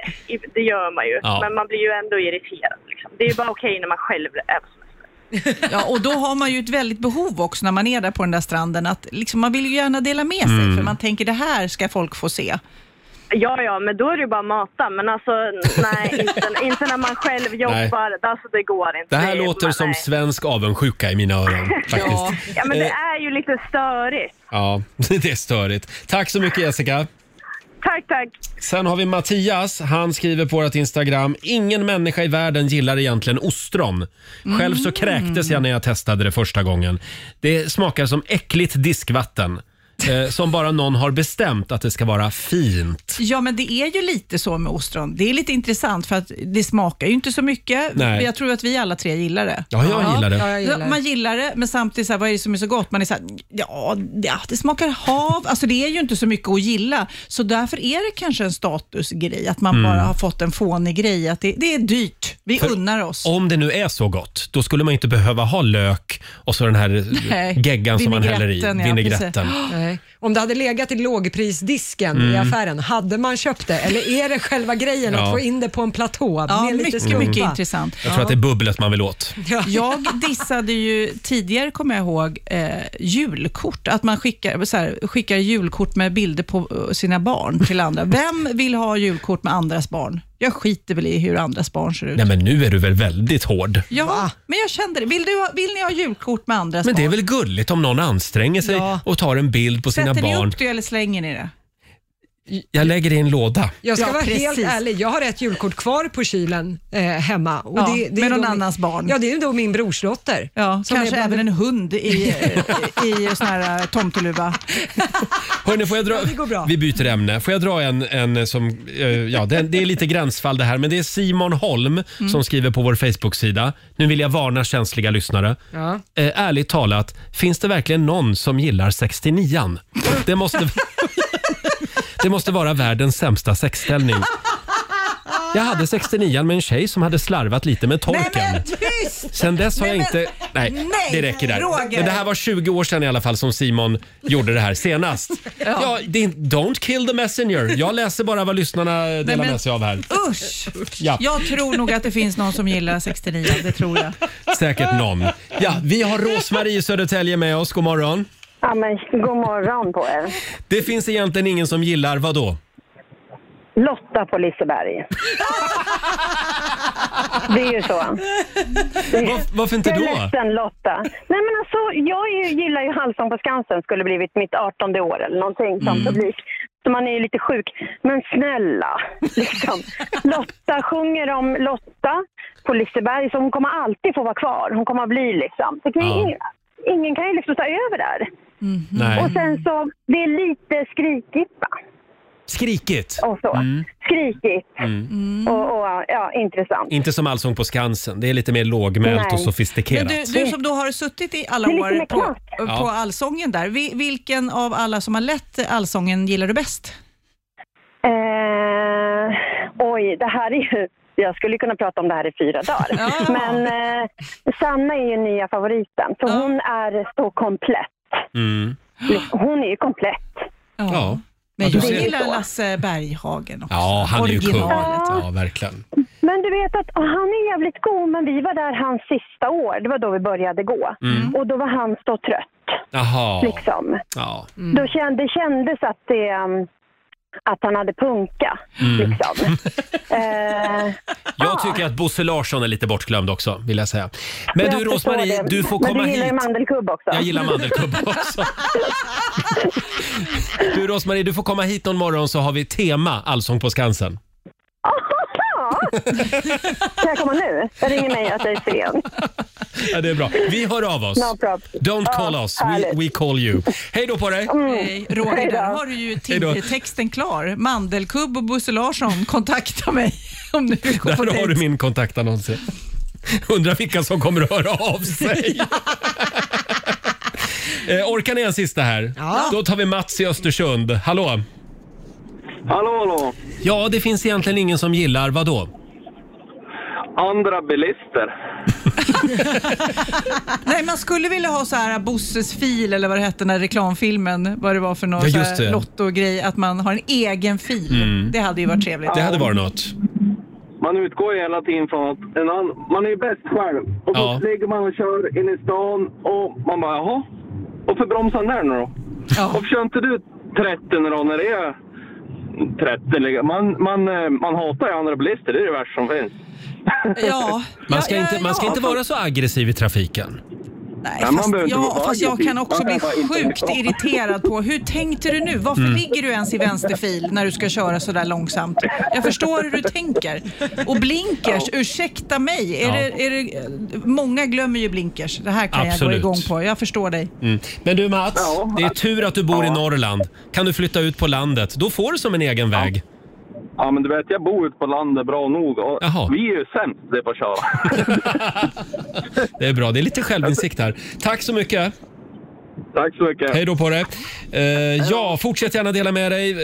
Speaker 15: det gör man ju.
Speaker 1: Ja.
Speaker 15: Men man blir ju ändå irriterad. Liksom. Det är ju bara okej när man själv är på
Speaker 5: Ja, och då har man ju ett väldigt behov också när man är där på den där stranden. Att liksom, man vill ju gärna dela med sig,
Speaker 15: Mm.
Speaker 5: för man tänker det här ska folk få se.
Speaker 15: Ja, ja, men då är det ju bara mata. Men alltså, nej, inte, inte när man själv jobbar. Alltså, det går inte.
Speaker 1: Det här
Speaker 15: är-
Speaker 1: låter som svensk avundsjuka i mina öron.
Speaker 15: Ja.
Speaker 1: Faktiskt.
Speaker 15: ja, men det
Speaker 1: Eh,
Speaker 15: är ju lite störigt.
Speaker 1: ja, det är störigt. Tack så mycket Jessica.
Speaker 15: Tack, tack.
Speaker 1: Sen har vi Mattias. Han skriver på vårt Instagram. Ingen människa i världen gillar egentligen ostron. Själv så
Speaker 20: Mm.
Speaker 1: kräktes jag när jag testade det första gången. Det smakar som äckligt diskvatten. Eh, som bara någon har bestämt att det ska vara fint.
Speaker 5: Ja, men det är ju lite så med ostron. Det är lite intressant för att det smakar ju inte så mycket.
Speaker 1: Nej.
Speaker 5: Jag tror att vi alla tre gillar det.
Speaker 1: Ja, jag gillar det. Ja, jag gillar det.
Speaker 5: Man gillar det, men samtidigt, så här, vad är det som är så gott? Man är så här, ja, det, ja, det smakar hav. Alltså, det är ju inte så mycket att gilla. Så därför är det kanske en statusgrej, att man
Speaker 1: Mm.
Speaker 5: bara har fått en fånig grej. Att det, det är dyrt. Vi
Speaker 1: För-
Speaker 5: unnar oss.
Speaker 1: Om det nu är så gott, då skulle man inte behöva ha lök och så den här
Speaker 2: Nej.
Speaker 1: geggan som man häller i.
Speaker 2: Vinägretten, ja,
Speaker 1: Vinägretten.
Speaker 2: precis. Nej. Om det hade legat i lågprisdisken i
Speaker 1: Mm.
Speaker 2: affären, hade man köpt det? Eller är det själva grejen
Speaker 1: Ja.
Speaker 2: att få in det på en platå? Den
Speaker 5: Ja,
Speaker 2: är lite
Speaker 5: mycket,
Speaker 2: skumpa.
Speaker 5: mycket intressant.
Speaker 1: Jag tror att det är bubblet man vill åt.
Speaker 5: Jag dissade ju tidigare, kommer jag ihåg, eh, julkort. Att man skickar, så här, skickar julkort med bilder på eh, sina barn till andra. Vem vill ha julkort med andras barn? Jag skiter väl i hur andras barn ser ut.
Speaker 1: Nej men nu är du väl väldigt hård.
Speaker 5: Ja, men jag kände det. Vill, du ha, vill ni ha julkort med andras
Speaker 1: Men det är
Speaker 5: barn?
Speaker 1: väl gulligt om någon anstränger sig
Speaker 5: Ja.
Speaker 1: och tar en bild på sina
Speaker 5: Sätter ni
Speaker 1: barn.
Speaker 5: upp det eller slänger ni det?
Speaker 1: Jag lägger det i en låda.
Speaker 2: Jag ska
Speaker 5: Ja,
Speaker 2: vara
Speaker 5: precis.
Speaker 2: helt ärlig, jag har ett julkort kvar på kylen eh, hemma. Och
Speaker 5: Ja,
Speaker 2: det, det
Speaker 5: med
Speaker 2: är
Speaker 5: någon
Speaker 2: då
Speaker 5: annans barn.
Speaker 2: Ja, det är ju då min brorsdotter.
Speaker 5: Ja,
Speaker 2: Som
Speaker 5: kanske
Speaker 2: är bland-
Speaker 5: även en hund i, i, i sån här eh, tomteluva.
Speaker 1: Hörrni, får jag dra...
Speaker 5: går bra.
Speaker 1: Vi byter ämne. Får jag dra en, en som... eh, ja, det, det är lite gränsfall det här, men det är Simon Holm
Speaker 20: Mm.
Speaker 1: som skriver på vår Facebook-sida. Nu vill jag varna känsliga lyssnare.
Speaker 2: Ja.
Speaker 1: Eh, ärligt talat, finns det verkligen någon som gillar 69an? Det måste, det måste vara världens sämsta sexställning. Jag hade 69an med en tjej som hade slarvat lite med torken.
Speaker 5: tyst!
Speaker 1: Sen dess har jag
Speaker 20: men-
Speaker 1: inte... Nej,
Speaker 20: Nej,
Speaker 1: det räcker där.
Speaker 20: Roger.
Speaker 1: Men det här var 20 år sedan i alla fall som Simon gjorde det här senast. Ja.
Speaker 20: Ja.
Speaker 1: det är, don't kill the messenger. Jag läser bara vad lyssnarna delar
Speaker 5: men-
Speaker 1: med sig av här.
Speaker 5: Usch!
Speaker 1: Ja.
Speaker 5: Jag tror nog att det finns någon som gillar 69, det tror jag.
Speaker 1: Säkert någon. Ja, vi har Rosmarie i Södertälje med oss. God morgon.
Speaker 14: Ja, men god morgon på er.
Speaker 1: Det finns egentligen ingen som gillar vad då?
Speaker 14: Lotta på Liseberg. Det är ju så.
Speaker 1: Var, varför inte
Speaker 14: jag är
Speaker 1: då?
Speaker 14: ledsen Lotta. Nej men alltså, jag är ju, gillar ju Allsång på Skansen, skulle blivit mitt 18 år eller någonting som
Speaker 20: Mm.
Speaker 14: publik. Så man är ju lite sjuk. Men snälla, liksom. Lotta sjunger om Lotta på Liseberg, så hon kommer alltid få vara kvar. Hon kommer att bli liksom. Det kan ju
Speaker 20: Ja.
Speaker 14: ingen, ingen kan ju liksom ta över där.
Speaker 20: Nej.
Speaker 14: Och sen så, det är lite skrikigt va?
Speaker 1: Skrikigt.
Speaker 14: Och så.
Speaker 1: Mm.
Speaker 14: Skrikigt.
Speaker 1: Mm.
Speaker 14: Och, och ja, intressant.
Speaker 1: Inte som Allsång på Skansen. Det är lite mer lågmält
Speaker 14: Nej.
Speaker 1: och sofistikerat.
Speaker 5: Men du, du som då har suttit i alla
Speaker 14: Det är lite
Speaker 5: år
Speaker 14: med
Speaker 5: på, på
Speaker 1: klass. Ja.
Speaker 5: Allsången där, vi- vilken av alla som har lett Allsången gillar du bäst?
Speaker 14: Eh, oj, det här är ju... Jag skulle kunna prata om det här i fyra dagar. Men eh, Sanna är ju nya favoriten, för hon är så komplett.
Speaker 1: Mm.
Speaker 14: Hon är ju komplett.
Speaker 1: Ja.
Speaker 5: Men
Speaker 1: Ja, du
Speaker 5: jag
Speaker 1: ser.
Speaker 5: gillar Lasse Berghagen också.
Speaker 1: Ja, han är ju kung.
Speaker 5: Originalet.
Speaker 1: Ja, verkligen.
Speaker 14: Men du vet att och han är jävligt god, men vi var där hans sista år. Det var då vi började gå.
Speaker 1: Mm.
Speaker 14: Och då var han så trött,
Speaker 1: Jaha.
Speaker 14: liksom.
Speaker 1: Ja.
Speaker 14: Då kände, det kändes att det... um, Att han hade punka,
Speaker 1: Mm.
Speaker 14: liksom. eh,
Speaker 1: Jag tycker att Bosse Larsson är lite bortglömd också, vill jag säga. Men
Speaker 14: jag
Speaker 1: du
Speaker 14: förstår
Speaker 1: Rosmarie,
Speaker 14: det.
Speaker 1: du får komma
Speaker 14: Men du
Speaker 1: hit.
Speaker 14: gillar ju mandelkubb också.
Speaker 1: Jag gillar mandelkubb också. Du Rosmarie, du får komma hit någon morgon så har vi tema Allsång på Skansen.
Speaker 14: Ska jag komma nu? Jag ringer mig att jag är sen.
Speaker 1: Ja, det är bra. Vi hör av oss.
Speaker 14: No problem. Ah,
Speaker 1: Don't call
Speaker 14: Ja,
Speaker 1: us, we, we call you. Hej då på dig!
Speaker 14: Mm,
Speaker 5: Hej, Roger, där har du ju
Speaker 1: Hej då.
Speaker 5: till- texten klar. Mandelkubb och Bosse Larsson, kontakta mig om du vill gå på
Speaker 1: Där har
Speaker 5: dejt.
Speaker 1: du min kontaktannons. Undrar vilka som kommer att höra av sig. Eh, orkar ni en sista här?
Speaker 20: Ja.
Speaker 1: Då tar vi Mats i Östersund. Hallå!
Speaker 19: Hallå, hallå.
Speaker 1: Ja, det finns egentligen ingen som gillar, vadå?
Speaker 19: Andra bilister.
Speaker 5: Nej, man skulle vilja ha så här Bosses fil eller vad det hette, den här reklamfilmen, vad det var för någon
Speaker 1: Ja,
Speaker 5: ja,
Speaker 1: just det.
Speaker 5: Lotto-grej, att man har en egen fil.
Speaker 1: Mm.
Speaker 5: Det hade ju varit trevligt.
Speaker 1: Det hade varit något.
Speaker 19: Man utgår ju hela tiden från att en annan, man är ju bäst själv. Och så
Speaker 1: Ja.
Speaker 19: ligger man och kör in i stan och man bara jaha, varför bromsar den där nu då? Varför kör inte du 30 nu då när det är 30? liksom? Man, man, eh, man hatar ju andra bilister, det är det värsta som finns.
Speaker 5: Ja.
Speaker 1: Man ska,
Speaker 5: Ja, ja,
Speaker 1: inte, man ska
Speaker 5: ja.
Speaker 1: inte vara så aggressiv i trafiken.
Speaker 5: Nej,
Speaker 1: Ja, man
Speaker 5: fast,
Speaker 1: behöver inte
Speaker 5: ja,
Speaker 1: vara
Speaker 5: fast jag
Speaker 1: aggressiv.
Speaker 5: kan också
Speaker 1: Man
Speaker 5: bli
Speaker 1: kan bara inte
Speaker 5: sjukt
Speaker 1: vara.
Speaker 5: irriterad på hur tänkte du nu? Varför
Speaker 1: Mm.
Speaker 5: ligger du ens i vänsterfil när du ska köra så där långsamt? Jag förstår hur du tänker. Och blinkers, ursäkta mig. Är
Speaker 1: Ja.
Speaker 5: det, är det, många glömmer ju blinkers. Det här kan
Speaker 1: Absolut.
Speaker 5: jag gå igång på. Jag förstår dig.
Speaker 1: Mm. Men du Mats, det är tur att du bor i Norrland. Kan du flytta ut på landet? Då får du som en egen väg.
Speaker 19: Ja men du vet, jag bor ute på landet bra nog och vi är ju sämst det på att köra.
Speaker 1: Det är bra. Det är lite självinsikt här. Tack så mycket.
Speaker 19: Tack så mycket.
Speaker 1: Hej då på dig. Eh, ja, fortsätt gärna dela med dig. V-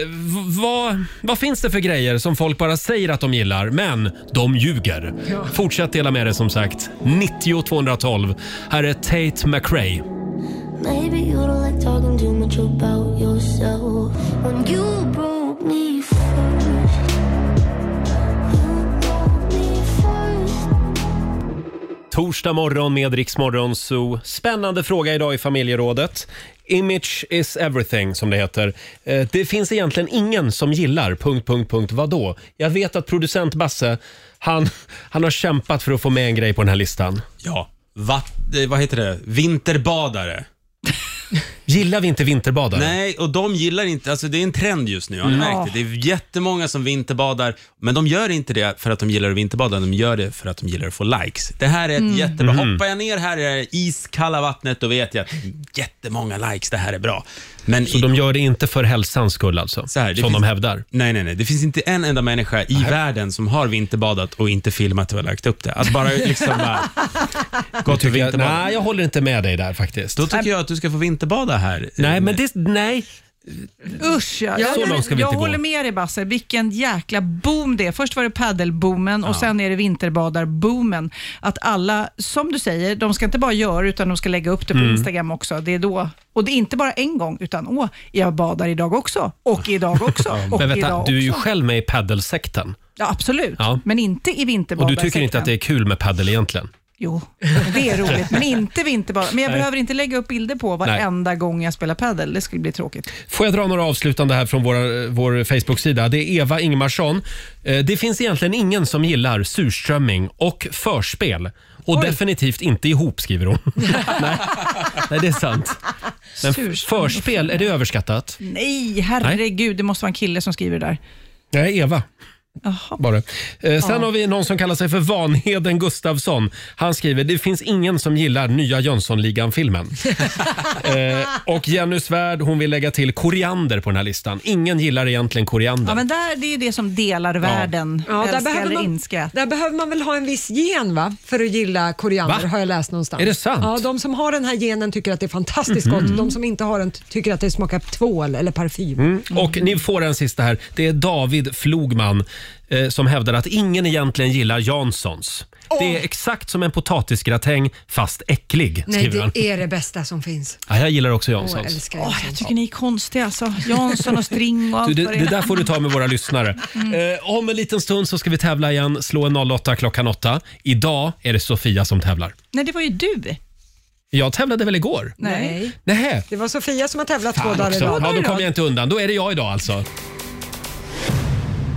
Speaker 1: vad, vad finns det för grejer som folk bara säger att de gillar, men de ljuger? Fortsätt dela med dig som sagt. 90 212. Här är Tate McRae.
Speaker 17: Maybe you don't like talking too much about yourself. When you broke me first,
Speaker 1: Torsdag morgon med Rix Morgon Zoo. Spännande fråga idag i familjerådet. Image is everything, som det heter. Eh, Det finns egentligen ingen som gillar... Punkt, punkt, punkt, vadå? Jag vet att producent Basse, han, han har kämpat för att få med en grej på den här listan.
Speaker 18: Ja, vatt, eh, vad heter det? Vinterbadare.
Speaker 1: Gillar vi inte vinterbadare?
Speaker 18: Nej, och de gillar inte, alltså det är en trend just nu, har ni
Speaker 1: Mm.
Speaker 18: märkt det? Det är jättemånga som vinterbadar, men de gör inte det för att de gillar att vinterbada, de gör det för att de gillar att få likes. Det här är ett
Speaker 1: Mm.
Speaker 18: jättebra,
Speaker 1: Mhm.
Speaker 18: hoppar jag ner här i det här iskalla vattnet, då vet jag att jättemånga likes, det här är bra. Men
Speaker 1: Så de gör det inte för hälsans skull alltså?
Speaker 18: Så här, det
Speaker 1: som de
Speaker 18: finns-
Speaker 1: hävdar?
Speaker 18: Nej, nej, nej. Det finns inte en enda människa i världen som har vinterbadat och inte filmat och lagt upp det. Att bara liksom bara, gått och
Speaker 1: jag,
Speaker 18: vinterbadat.
Speaker 1: nej, jag håller inte med dig där faktiskt.
Speaker 18: Då tycker jag att du ska få vinterbada här.
Speaker 1: Nej, men det... Nej.
Speaker 5: Usch ja.
Speaker 1: Ja,
Speaker 5: Jag,
Speaker 1: så långt ska vi
Speaker 5: jag
Speaker 1: inte gå.
Speaker 5: håller med dig Basse. Vilken jäkla boom det är. Först var det paddelboomen och sen är det vinterbadarboomen. Att alla, som du säger, de ska inte bara göra utan de ska lägga upp det på
Speaker 18: Mm.
Speaker 5: Instagram också. Det är då. Och det är inte bara en gång utan åh, jag badar idag också. Och idag också. Och
Speaker 1: Men
Speaker 5: idag
Speaker 1: vänta,
Speaker 5: också.
Speaker 1: du är ju själv med i paddelsekten.
Speaker 5: Ja, absolut.
Speaker 1: Ja.
Speaker 5: Men inte i
Speaker 1: Och
Speaker 5: vinterbadarsektorn.
Speaker 1: du tycker inte att det är kul med paddel egentligen?
Speaker 5: Jo, det är roligt, men inte vinterbadar. Men jag
Speaker 1: Nej.
Speaker 5: behöver inte lägga upp bilder på varenda gång jag spelar padel. Det skulle bli tråkigt.
Speaker 1: Får jag dra några avslutande här från våra, vår Facebook-sida? Det är Eva Ingmarsson. Eh, Det finns egentligen ingen som gillar surströmming och förspel. Och definitivt inte ihop, skriver hon. nej, nej, det är sant. Men f-
Speaker 5: Surströmming och
Speaker 1: förspel, är det överskattat?
Speaker 5: Nej, herregud, det måste vara en kille som skriver det där.
Speaker 1: Nej, Eva. Bara. Eh, sen
Speaker 5: Ja.
Speaker 1: har vi någon som kallar sig för Vanheden Gustafsson. Han skriver “Det finns ingen som gillar nya Jönssonligan-filmen”. eh, och Jenny Svärd hon vill lägga till koriander på den här listan. Ingen gillar egentligen koriander.
Speaker 5: Ja, men där, det är ju det som delar världen.
Speaker 2: Ja, där
Speaker 5: Älska
Speaker 2: behöver,
Speaker 5: eller
Speaker 2: man,
Speaker 5: ilska.
Speaker 2: där behöver man väl ha en viss gen va? för att gilla koriander
Speaker 1: Va?
Speaker 2: har jag läst någonstans.
Speaker 1: Är det sant?
Speaker 2: Ja, de som har den här genen tycker att det är fantastiskt
Speaker 1: Mhm.
Speaker 2: gott. De som inte har den ty- tycker att det smakar tvål eller parfym.
Speaker 1: Mm. Och ni får en sista här. Det är David Flogman eh, som hävdar att ingen egentligen gillar Janssons. Det är exakt som en potatisgratäng fast äcklig,
Speaker 2: Nej,
Speaker 1: skriver han.
Speaker 2: det är det bästa som finns.
Speaker 1: Ja, jag gillar också
Speaker 2: Åh, jag
Speaker 1: Janssons.
Speaker 2: älskar Janssons.
Speaker 5: Jag tycker ni är konstiga alltså. Jansson och String och
Speaker 1: Du,
Speaker 5: allt
Speaker 1: det,
Speaker 5: vad är.
Speaker 1: det där får du ta med våra lyssnare.
Speaker 2: Mm.
Speaker 1: Eh, om en liten stund så ska vi tävla igen. Slå en 08 klockan 8. Idag är det Sofia som tävlar.
Speaker 5: Nej, det var ju du.
Speaker 1: Jag tävlade väl igår?
Speaker 5: Nej.
Speaker 1: Nähä.
Speaker 2: Det var Sofia som har tävlat två
Speaker 1: Fan
Speaker 2: dagar
Speaker 1: också.
Speaker 2: idag.
Speaker 1: Ja, då kom jag inte undan. Då är det jag idag alltså.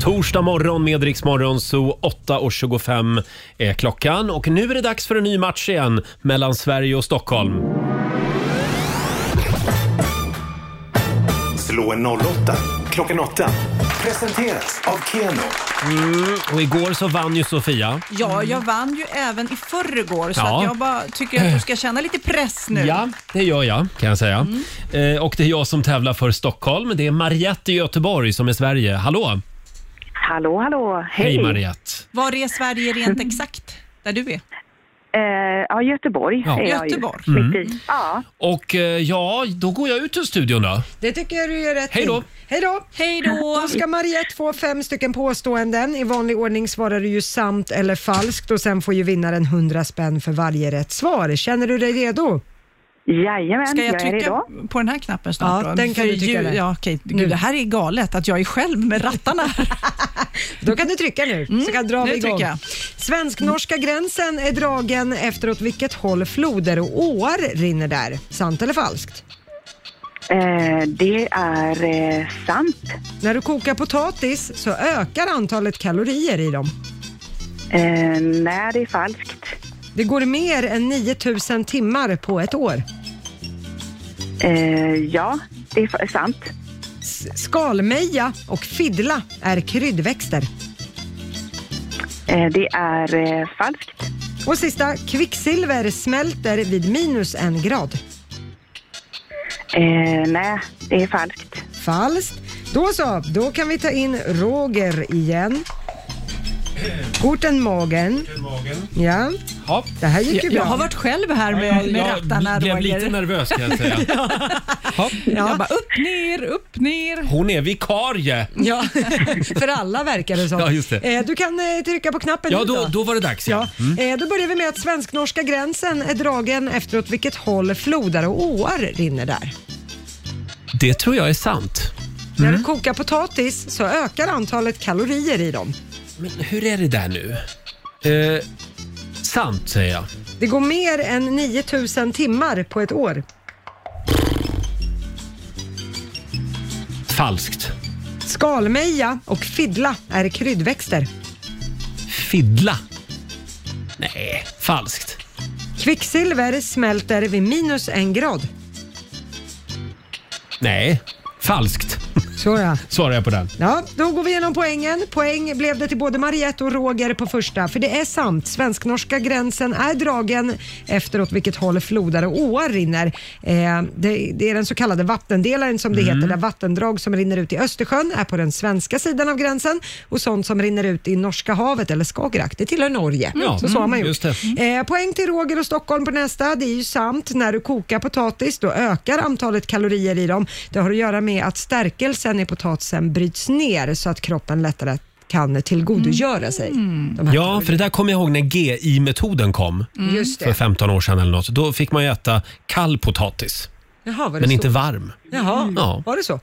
Speaker 1: Torsdag morgon med Rix Morgon, så 8.25 är klockan. Och nu är det dags för en ny match igen mellan Sverige och Stockholm.
Speaker 3: Slå en 08 klockan 8. Presenteras av Keno.
Speaker 1: Mm, och igår så vann ju Sofia.
Speaker 5: Ja, jag vann ju även i förrgår, så
Speaker 1: Ja.
Speaker 5: att jag bara tycker att du ska känna lite press nu.
Speaker 1: Ja, det gör jag kan jag säga. Eh, och det är jag som tävlar för Stockholm. Det är Mariette i Göteborg som är Sverige. Hallå!
Speaker 13: Hallå, hallå.
Speaker 1: Hej, Mariette.
Speaker 5: Var är Sverige rent exakt? Där du är?
Speaker 13: Eh, ja, Göteborg
Speaker 1: Ja.
Speaker 13: är jag
Speaker 1: Göteborg.
Speaker 13: ju. Mitt i.
Speaker 1: Mm.
Speaker 13: Ja.
Speaker 1: Och eh, ja, då går jag ut ur studion då.
Speaker 2: Det tycker jag du gör rätt
Speaker 1: Hej då.
Speaker 2: i. Hej då! Hej då! Då ska Mariette få fem stycken påståenden. I vanlig ordning svarar du ju sant eller falskt och sen får ju vinnaren 100 spänn för varje rätt svar. Känner du dig redo?
Speaker 13: Jajamän,
Speaker 5: Ska jag, trycka på den här knappen snart
Speaker 2: Ja,
Speaker 5: då?
Speaker 2: den kan
Speaker 5: För
Speaker 2: du trycka
Speaker 5: ju-
Speaker 2: där.
Speaker 5: ja, okej.
Speaker 2: Nu.
Speaker 5: Gud, det här är galet att jag är själv med rattarna här.
Speaker 2: Då kan du trycka nu, så kan dra
Speaker 5: Mm. nu
Speaker 2: vi igång.
Speaker 5: trycker jag.
Speaker 2: Svensk-norska gränsen är dragen efter åt vilket håll floder och åar rinner där. Sant eller falskt?
Speaker 13: Eh, det är eh, sant.
Speaker 2: När du kokar potatis så ökar antalet kalorier i dem.
Speaker 13: Eh, nej, det är falskt.
Speaker 2: Det går mer än 9000 timmar på ett år.
Speaker 13: Eh, ja, det är fa- sant.
Speaker 2: S- Skalmeja och fiddla är kryddväxter.
Speaker 13: Eh, det är eh, falskt.
Speaker 2: Och sista, kvicksilver smälter vid minus en grad.
Speaker 13: Eh, nej, det är falskt.
Speaker 2: Falskt. Då så, då kan vi ta in Roger igen. Korten magen. Ja.
Speaker 1: Ja.
Speaker 2: Det här gick ju
Speaker 5: jag,
Speaker 2: bra.
Speaker 5: jag har varit själv här med, med rattarna,
Speaker 1: Jag blev
Speaker 5: Roger.
Speaker 1: lite nervös kan jag säga.
Speaker 5: Jag bara upp, ner, upp, ner.
Speaker 1: Hon är vikarie.
Speaker 2: Ja, för alla verkar det som.
Speaker 1: Ja, just det.
Speaker 2: Eh, Du kan eh, trycka på knappen
Speaker 1: Ja,
Speaker 2: nu
Speaker 1: då, då var det dags ja. Mm.
Speaker 2: Eh, Då börjar vi med att svensk-norska gränsen är dragen efter åt vilket håll floder och åar rinner där.
Speaker 1: Det tror jag är sant. Mm.
Speaker 2: När du kokar potatis så ökar antalet kalorier i dem.
Speaker 1: Men hur är det där nu? Eh, sant säger jag.
Speaker 2: Det går mer än 9000 timmar på ett år.
Speaker 1: Falskt.
Speaker 2: Skalmeja och fiddla är kryddväxter.
Speaker 1: Fiddla. Nej, falskt.
Speaker 2: Kvicksilver smälter vid minus en grad.
Speaker 1: Nej, falskt.
Speaker 2: Så ja.
Speaker 1: Svarar jag på den.
Speaker 2: Ja, då går vi igenom poängen. Poäng blev det till både Mariette och Roger på första, för det är sant. Svensk-norska gränsen är dragen efter åt vilket håll floder och åar rinner. Eh, det, det är den så kallade vattendelaren som det
Speaker 1: Mm.
Speaker 2: heter, där vattendrag som rinner ut i Östersjön är på den svenska sidan av gränsen och sånt som rinner ut i Norska havet eller Skagerrak, det tillhör Norge.
Speaker 1: Ja,
Speaker 2: så så har man
Speaker 1: mm,
Speaker 2: gjort.
Speaker 1: just det.
Speaker 2: Eh, poäng till Roger och Stockholm på nästa. Det är ju sant, när du kokar potatis då ökar antalet kalorier i dem. Det har att göra med att stärkelsen i potatisen bryts ner så att kroppen lättare kan tillgodogöra sig. De här
Speaker 1: Ja, för det där kommer jag ihåg när GI-metoden kom.
Speaker 2: Mm. Just det.
Speaker 1: För 15 år sedan eller något. Då fick man ju äta kall potatis.
Speaker 2: Jaha, var det
Speaker 1: Men
Speaker 2: så?
Speaker 1: inte varm.
Speaker 2: Jaha,
Speaker 1: Ja.
Speaker 2: Mm. var det så? Eh,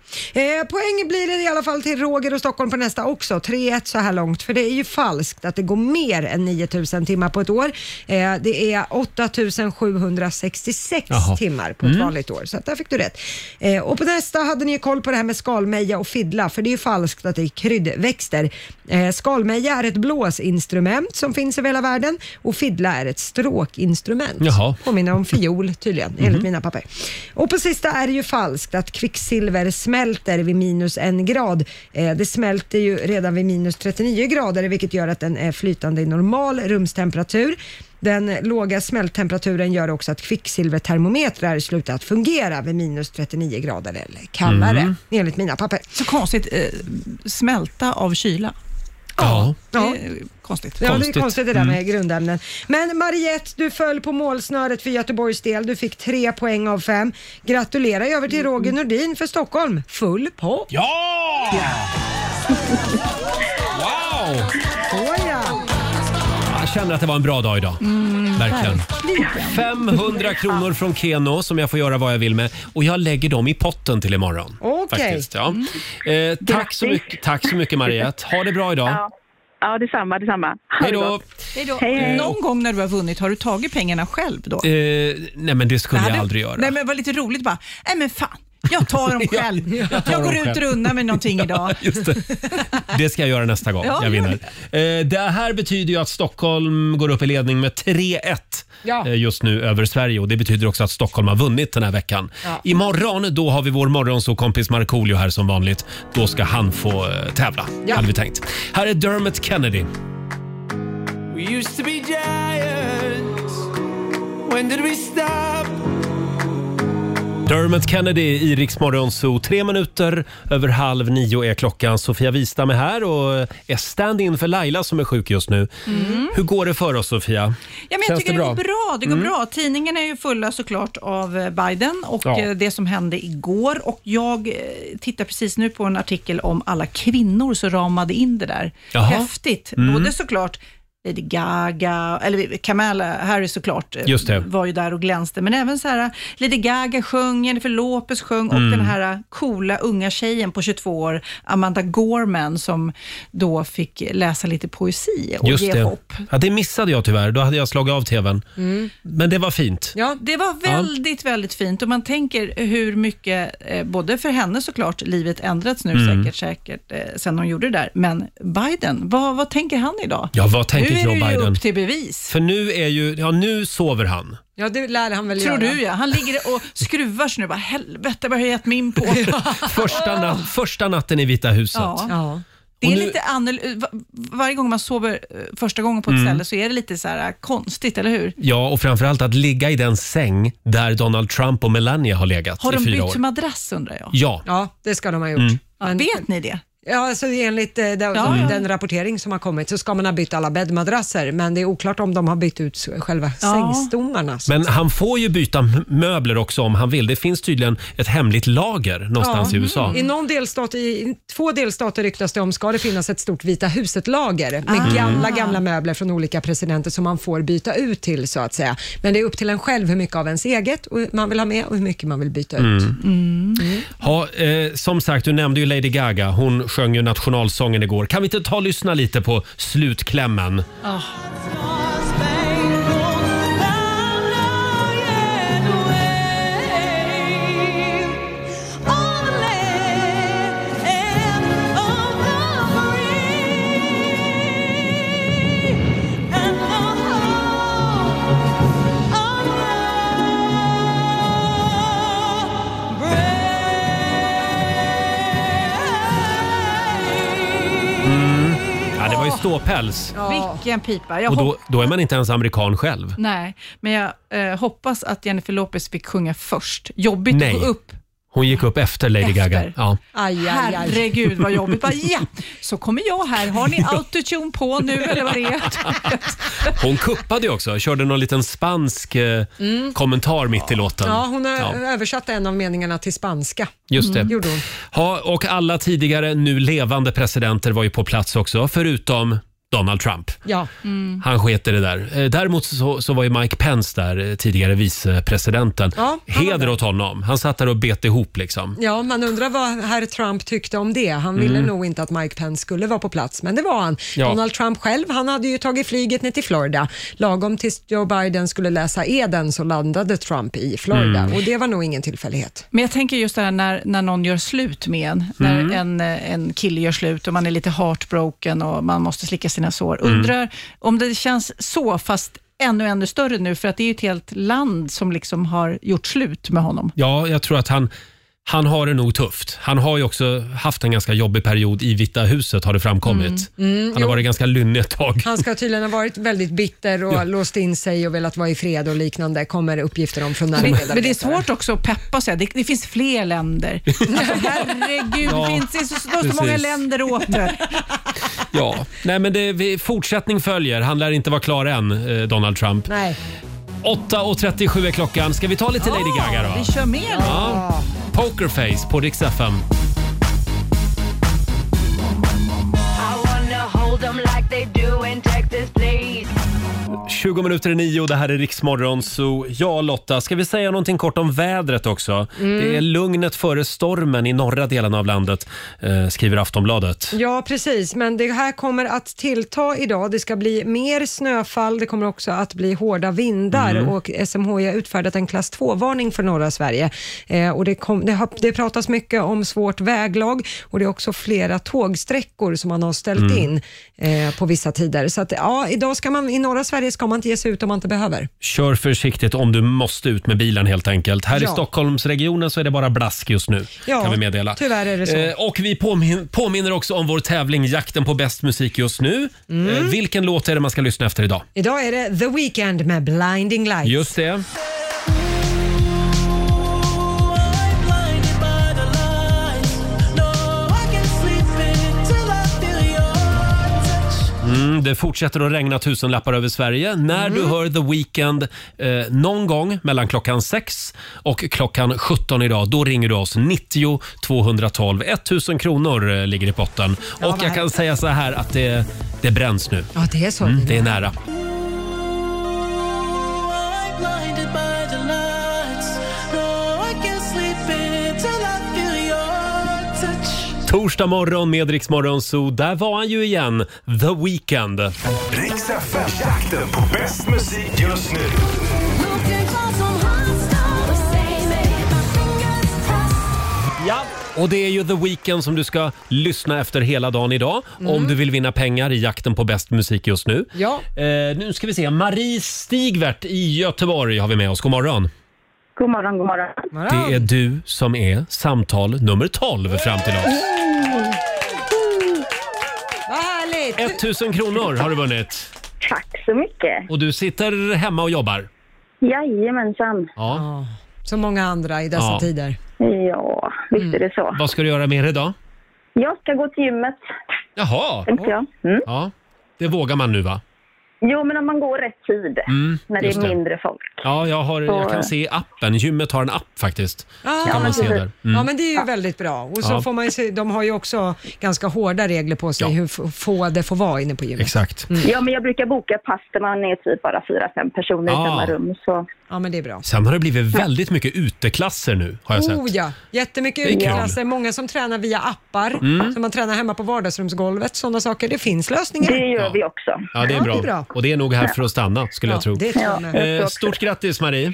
Speaker 2: poäng blir det i alla fall till Roger och Stockholm på nästa också. 3-1 så här långt, för det är ju falskt att det går mer än 9000 timmar på ett år. Eh, det är 8766
Speaker 1: Jaha.
Speaker 2: timmar på ett
Speaker 1: Mm.
Speaker 2: vanligt år, så att där fick du rätt. Eh, och på nästa hade ni ju koll på det här med skalmeja och fiddla, för det är ju falskt att det är kryddväxter. Eh, skalmeja är ett blåsinstrument som finns över hela världen och fiddla är ett stråkinstrument.
Speaker 1: Jaha.
Speaker 2: Påminner om fiol tydligen, enligt mina papper. Och på sista är det ju falskt att kvicksilver smälter vid minus en grad. Eh, det smälter ju redan vid minus 39 grader vilket gör att den är flytande i normal rumstemperatur. Den låga smälttemperaturen gör också att kvicksilvertermometrar slutar att fungera vid minus 39 grader eller kallare,
Speaker 5: Mm.
Speaker 2: enligt mina papper.
Speaker 5: Så konstigt, eh, smälta av kyla.
Speaker 1: Ja.
Speaker 5: Det är konstigt.
Speaker 2: Ja, det är konstigt Mm. det där med grundämnen. Men Mariette, du föll på målsnöret för Göteborgs del. Du fick tre poäng av fem. Gratulerar över till Roger Nordin för Stockholm. Full på.
Speaker 1: Ja! Wow!
Speaker 2: Såja!
Speaker 1: Jag känner att det var en bra dag idag. verkligen. 500 kronor från Keno som jag får göra vad jag vill med och jag lägger dem i potten till imorgon.
Speaker 13: Okej.
Speaker 1: Faktiskt, ja. eh, tack, så mycket, tack så mycket Mariette. Ha det bra idag.
Speaker 13: Ja, ja detsamma, detsamma. Ha
Speaker 1: Hej
Speaker 13: det
Speaker 1: då.
Speaker 13: gott.
Speaker 5: Hej då.
Speaker 13: Hej, hej.
Speaker 5: eh, Någon gång när du har vunnit, har du tagit pengarna själv då?
Speaker 1: Eh, nej men det skulle
Speaker 5: Det
Speaker 1: jag
Speaker 5: hade-
Speaker 1: aldrig göra.
Speaker 5: Nej, men det var lite roligt bara. Nej, men fan. Jag tar dem själv. jag,
Speaker 1: tar dem
Speaker 5: går ut
Speaker 1: själv.
Speaker 5: och unnar mig någonting idag.
Speaker 1: Just det. det ska jag göra nästa gång
Speaker 5: Ja,
Speaker 1: jag vinner.
Speaker 5: gör
Speaker 1: Eh, det här betyder ju att Stockholm går upp i ledning med 3-1
Speaker 2: Ja.
Speaker 1: eh, just nu över Sverige och det betyder också att Stockholm har vunnit den här veckan.
Speaker 2: Ja.
Speaker 1: Imorgon då har vi vår morgonsåkompis Markoolio här som vanligt. Då ska han få eh, tävla,
Speaker 9: Ja.
Speaker 1: hade vi tänkt. Här är Dermot Kennedy.
Speaker 9: We used to be giants. When did we stop?
Speaker 1: Dermot Kennedy i Rix Morgon Zoo. Tre minuter över halv nio är klockan. Sofia Wistam är här och eh, är stand-in för Laila som är sjuk just nu.
Speaker 5: Mm.
Speaker 1: Hur går det för oss Sofia?
Speaker 5: Ja, men jag tycker det går bra. Det går bra. Tidningarna är ju fulla såklart av eh, Biden och
Speaker 1: Ja.
Speaker 5: eh, det som hände igår. Och jag eh, tittar precis nu på en artikel om alla kvinnor som ramade in det där.
Speaker 12: Jaha.
Speaker 5: Häftigt.
Speaker 12: Mm.
Speaker 5: Både såklart Lady Gaga, eller Kamala Harris såklart, eh,
Speaker 12: Just det.
Speaker 5: var ju där och glänste. Men även så här, eh, Lady Gaga sjöng, Jennifer Lopez sjöng
Speaker 12: Mm.
Speaker 5: och den här eh, coola unga tjejen på 22 år, Amanda Gorman, som då fick läsa lite poesi och
Speaker 1: Just
Speaker 5: ge
Speaker 1: det.
Speaker 5: hopp. Mm.
Speaker 1: Ja, det missade jag tyvärr. Då hade jag slagit av tvn. Men det var fint.
Speaker 5: Ja, det var väldigt, väldigt fint och man tänker hur mycket, eh, både för henne såklart, livet ändrats nu
Speaker 1: Mm.
Speaker 5: säkert, säkert eh, sen hon gjorde det där. Men Biden, vad, vad tänker han idag?
Speaker 1: Ja, vad tänker
Speaker 5: nu är
Speaker 1: Joe
Speaker 5: det ju
Speaker 1: Biden?
Speaker 5: upp till bevis.
Speaker 1: För nu är ju, ja nu sover han.
Speaker 5: Ja, det lär han väl Tror
Speaker 2: göra.
Speaker 5: du ja. Han ligger och skruvar sig nu bara, helvete vad har jag gett mig in på?
Speaker 1: Första, na- första natten i Vita huset.
Speaker 5: Ja. Det är
Speaker 1: Och nu-
Speaker 5: lite annorlunda. Varje gång man sover eh, första gången på ett
Speaker 1: Mm.
Speaker 5: ställe så är det lite så här eh, konstigt, eller hur?
Speaker 1: Ja, och framförallt att ligga i den säng där Donald Trump och Melania har legat
Speaker 5: Har de
Speaker 1: i fyra
Speaker 5: bytt
Speaker 1: år.
Speaker 5: madrass undrar jag?
Speaker 1: Ja.
Speaker 2: Ja, det ska de ha gjort.
Speaker 1: Mm.
Speaker 5: vet ni det?
Speaker 2: Ja, alltså enligt eh, den,
Speaker 5: Ja, ja.
Speaker 2: den rapportering som har kommit så ska man ha bytt alla bäddmadrasser, men det är oklart om de har bytt ut själva
Speaker 1: Ja.
Speaker 2: sängstommarna. så
Speaker 1: Men
Speaker 2: att säga.
Speaker 1: han får ju byta m- möbler också om han vill. Det finns tydligen ett hemligt lager någonstans
Speaker 2: Ja. Mm.
Speaker 1: i USA.
Speaker 2: I, någon delstat, i- I två delstater ryktas det om ska det finnas ett stort Vita huset-lager med
Speaker 1: Ah.
Speaker 2: gamla, gamla möbler från olika presidenter som man får byta ut till så att säga. Men det är upp till en själv hur mycket av ens eget och man vill ha med och hur mycket man vill byta ut.
Speaker 1: Mm. Ha, eh, som sagt, du nämnde ju Lady Gaga. Hon sjöng ju nationalsången igår. Kan vi inte ta och lyssna lite på slutklämmen? Mm. Ja, det var ju ståpäls.
Speaker 5: Vilken pipa. Jag
Speaker 1: Och då,
Speaker 5: hopp-
Speaker 1: då är man inte ens amerikan själv.
Speaker 5: Nej, men jag eh, hoppas att Jennifer Lopez fick sjunga först. Jobbigt
Speaker 1: Nej.
Speaker 5: att gå upp.
Speaker 1: Hon gick upp efter Lady Gaga.
Speaker 5: Efter.
Speaker 1: Ja.
Speaker 2: aj, aj.
Speaker 5: Herregud vad jobbigt. Bara, ja, så kommer jag här. Har ni autotune på nu eller vad det är?
Speaker 1: Hon kuppade ju också. Körde någon liten spansk eh,
Speaker 2: Mm.
Speaker 1: kommentar mitt i låten.
Speaker 2: Ja, hon har
Speaker 1: Ja.
Speaker 2: översatt en av meningarna till spanska.
Speaker 1: Just det.
Speaker 2: Mm. Gjorde hon.
Speaker 1: Ja, och alla tidigare nu levande presidenter var ju på plats också, förutom Donald Trump.
Speaker 2: Ja.
Speaker 1: Mm. Han sket i det där. Eh, Däremot så, så var ju Mike Pence där, eh, tidigare vicepresidenten.
Speaker 2: Ja, han var
Speaker 1: Heder
Speaker 2: där.
Speaker 1: åt honom. Han satt där och bet ihop liksom.
Speaker 2: Ja, man undrar vad herr Trump tyckte om det. Han ville
Speaker 1: Mm.
Speaker 2: nog inte att Mike Pence skulle vara på plats, men det var han.
Speaker 1: Ja.
Speaker 2: Donald Trump själv, han hade ju tagit flyget ner till Florida. Lagom tills Joe Biden skulle läsa eden så landade Trump i Florida
Speaker 5: Mm.
Speaker 2: och det var nog ingen tillfällighet.
Speaker 5: Men jag tänker just det här när, när någon gör slut med en. När
Speaker 2: Mm.
Speaker 5: en, eh, en kille gör slut och man är lite heartbroken och man måste slicka sina sår.
Speaker 1: Mm.
Speaker 5: Undrar om det känns så, fast ännu, ännu större nu, för att det är ju ett helt land som liksom har gjort slut med honom.
Speaker 1: Ja, jag tror att han, han har det nog tufft. Han har ju också haft en ganska jobbig period i Vita huset har det framkommit.
Speaker 2: Mm. Mm,
Speaker 1: han har
Speaker 2: jo.
Speaker 1: varit ganska lynnig ett tag.
Speaker 2: Han ska tydligen ha varit väldigt bitter och
Speaker 1: Ja.
Speaker 2: låst in sig och velat vara i fred och liknande, kommer uppgifter om från nära
Speaker 5: Men, men det är
Speaker 2: medarbetare.
Speaker 5: svårt också att peppa sig. Det, det finns fler länder. Alltså, herregud,
Speaker 1: Ja,
Speaker 5: det finns det är så, det är så
Speaker 1: precis.
Speaker 5: många länder åter.
Speaker 1: Ja, nej men det, vi, fortsättning följer. Han lär inte vara klar än, eh, Donald Trump.
Speaker 2: Nej.
Speaker 1: 8.37 är klockan. Ska vi ta lite Lady Gaga då?
Speaker 5: Vi kör med då.
Speaker 1: Ja. Pokerface på Rix FM.
Speaker 20: I wanna hold them like they do in Texas, please.
Speaker 1: 20 minuter i nio, det här är Riksmorgon. Så ja, Lotta, ska vi säga någonting kort om vädret också?
Speaker 2: Mm.
Speaker 1: Det är lugnet före stormen i norra delen av landet, eh, skriver Aftonbladet.
Speaker 2: Ja, precis. Men det här kommer att tillta idag. Det ska bli mer snöfall. Det kommer också att bli hårda vindar
Speaker 1: Mm.
Speaker 2: och SMHI har utfärdat en klass 2-varning för norra Sverige. Eh, och det, kom, det, har, det pratas mycket om svårt väglag och det är också flera tågsträckor som man har ställt
Speaker 1: Mm.
Speaker 2: in eh, på vissa tider. Så att, ja, idag ska man, i norra Sverige ska man inte ge sig ut om man inte behöver.
Speaker 1: Kör försiktigt om du måste ut med bilen helt enkelt. Här i
Speaker 2: Ja.
Speaker 1: Stockholmsregionen så är det bara blask just nu.
Speaker 2: Ja,
Speaker 1: kan vi meddela.
Speaker 2: tyvärr är det så.
Speaker 1: Eh, och vi påmin- påminner också om vår tävling Jakten på bäst musik just nu.
Speaker 2: Mm.
Speaker 1: Eh, vilken låt är det man ska lyssna efter idag?
Speaker 2: Idag är det The Weeknd med Blinding Lights.
Speaker 1: Just det. Mm, det fortsätter att regna tusenlappar över Sverige. När du hör The Weeknd eh, någon gång mellan klockan 6 och klockan 17 idag, då ringer du oss. 90 212 1000 kronor eh, ligger i potten. och jag kan säga så här att det, det bränns nu.
Speaker 2: Ja, det är så.
Speaker 1: Mm, det är nära.
Speaker 12: blinded by the lights. No, I can't sleep until I feel your touch.
Speaker 1: Torsdag morgon med Rix Morgon Zoo. Där var han ju igen, The Weeknd.
Speaker 3: Riks FM-jakten på bäst musik just nu.
Speaker 1: Och det är ju The Weeknd som du ska lyssna efter hela dagen idag om du vill vinna pengar i jakten på bäst musik just nu.
Speaker 2: Ja.
Speaker 1: Eh, nu ska vi se, Marie Stigvert i Göteborg har vi med oss. God morgon.
Speaker 7: God morgon, god morgon.
Speaker 1: Det är du som är samtal nummer 12 fram till oss.
Speaker 2: Vad härligt!
Speaker 1: 1000 kronor har du vunnit.
Speaker 7: Tack så mycket.
Speaker 1: Och du sitter hemma och jobbar.
Speaker 7: Jajamensan.
Speaker 1: Ja.
Speaker 2: Som många andra i dessa
Speaker 1: Ja.
Speaker 2: tider.
Speaker 7: Ja,
Speaker 1: Mm.
Speaker 7: visst är det så.
Speaker 1: Vad ska du göra mer idag?
Speaker 7: Jag ska gå till gymmet,
Speaker 1: Jaha.
Speaker 7: tänkte jag. Mm.
Speaker 1: Ja. Det vågar man nu va?
Speaker 7: Jo, men om man går rätt tid,
Speaker 1: Mm,
Speaker 7: när det
Speaker 1: just
Speaker 7: är
Speaker 1: det.
Speaker 7: mindre folk.
Speaker 1: Ja, jag, har, jag
Speaker 7: Så-
Speaker 1: kan se i appen. Gymmet har en app faktiskt. Så kan man se där. Mm.
Speaker 2: ja, Ah, men det är ju väldigt bra. Och så
Speaker 1: Ja.
Speaker 2: får man ju se, de har ju också ganska hårda regler på sig hur f- få det får vara inne på gymmet.
Speaker 1: Exakt.
Speaker 7: Ja, men jag brukar boka pass där man är typ bara fyra, fem personer
Speaker 1: Ah.
Speaker 7: i samma rum. Så.
Speaker 2: Ja, men det är bra.
Speaker 1: Sen har det blivit väldigt mycket uteklasser nu har jag sett.
Speaker 2: Oh ja, jättemycket
Speaker 1: Det är kul.
Speaker 2: uteklasser. Många som tränar via appar,
Speaker 1: Mm.
Speaker 2: som man tränar hemma på vardagsrumsgolvet. Sådana saker. Det finns lösningar.
Speaker 7: Det gör vi också.
Speaker 1: Ja, det är bra. Och det är nog här för att stanna skulle
Speaker 2: Ja,
Speaker 1: jag tro.
Speaker 2: det tror jag med.
Speaker 1: Eh, Stort grattis Marie!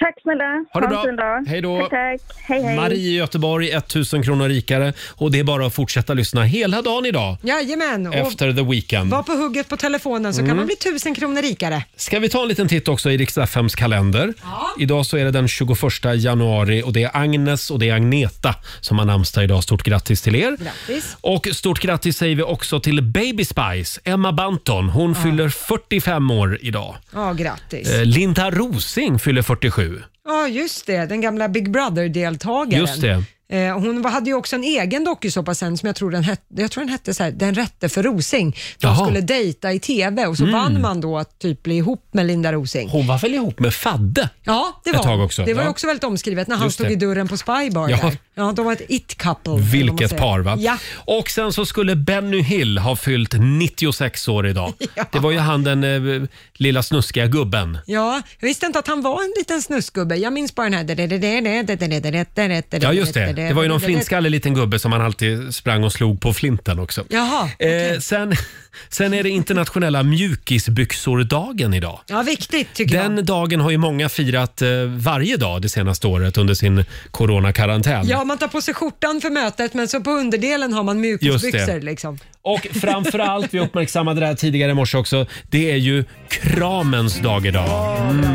Speaker 7: Tack snälla.
Speaker 1: Ha det
Speaker 7: en
Speaker 1: bra.
Speaker 7: fin dag.
Speaker 1: Hej då.
Speaker 7: Tack, tack. Hej, hej.
Speaker 1: Marie i Göteborg, 1000 kronor rikare. Och det är bara att fortsätta lyssna hela dagen idag
Speaker 2: Jajamän. Och
Speaker 1: efter the weekend.
Speaker 2: Var på hugget på telefonen så
Speaker 1: Mm.
Speaker 2: kan man bli tusen kronor rikare.
Speaker 1: Ska vi ta en liten titt också i Riks-FMs kalender? Idag så är det den 21 januari och det är Agnes och det är Agneta som har namnsdag idag. Stort grattis till er!
Speaker 2: Grattis.
Speaker 1: Och stort grattis säger vi också till Baby Spice, Emma Banton. Hon fyller 45 år idag.
Speaker 2: Ja, grattis.
Speaker 1: Eh, Linda Rosing fyller 47.
Speaker 2: Ja, just det. Den gamla Big Brother-deltagaren.
Speaker 1: Just det.
Speaker 2: Eh, Hon var- hade ju också en egen dokusåpa sen som jag tror den hette, jag tror den hette så här, Den rätte för Rosing. De
Speaker 1: Jaha.
Speaker 2: skulle dejta i TV och så
Speaker 1: Mm.
Speaker 2: vann man då att typ bli ihop med Linda Rosing.
Speaker 1: Hon var väl ihop med Fadde?
Speaker 2: Ja, det
Speaker 1: Ett
Speaker 2: var
Speaker 1: tag
Speaker 2: hon.
Speaker 1: också,
Speaker 2: Det var ju
Speaker 1: ja.
Speaker 2: också väldigt omskrivet när han
Speaker 1: Just
Speaker 2: stod
Speaker 1: det.
Speaker 2: i dörren på Spybar.
Speaker 1: Ja.
Speaker 2: Ja. Ja, de var ett it-couple. eller vad man
Speaker 1: Vilket
Speaker 2: säger.
Speaker 1: par va?
Speaker 2: Ja.
Speaker 1: Och sen så skulle Benny Hill ha fyllt 96 år idag. Det var ju han den eh, lilla snuskiga gubben.
Speaker 2: Ja, jag visste inte att han var en liten snusgubbe. Jag minns bara den här...
Speaker 1: Ja just det, det var ju någon flintskallig liten gubbe som han alltid sprang och slog på flinten också.
Speaker 2: Jaha,
Speaker 1: Eh, sen, sen är det internationella mjukisbyxor-dagen idag.
Speaker 2: ja viktigt tycker jag.
Speaker 1: Den dagen har ju många firat eh, varje dag det senaste året under sin coronakarantän.
Speaker 2: Ja, man tar på sig skjortan för mötet men så på underdelen har man
Speaker 1: Just
Speaker 2: mjukisbyxor.
Speaker 1: det.
Speaker 2: Liksom.
Speaker 1: Och framförallt, vi uppmärksammade det här tidigare i morse också, det är ju kramens dag idag. Mm.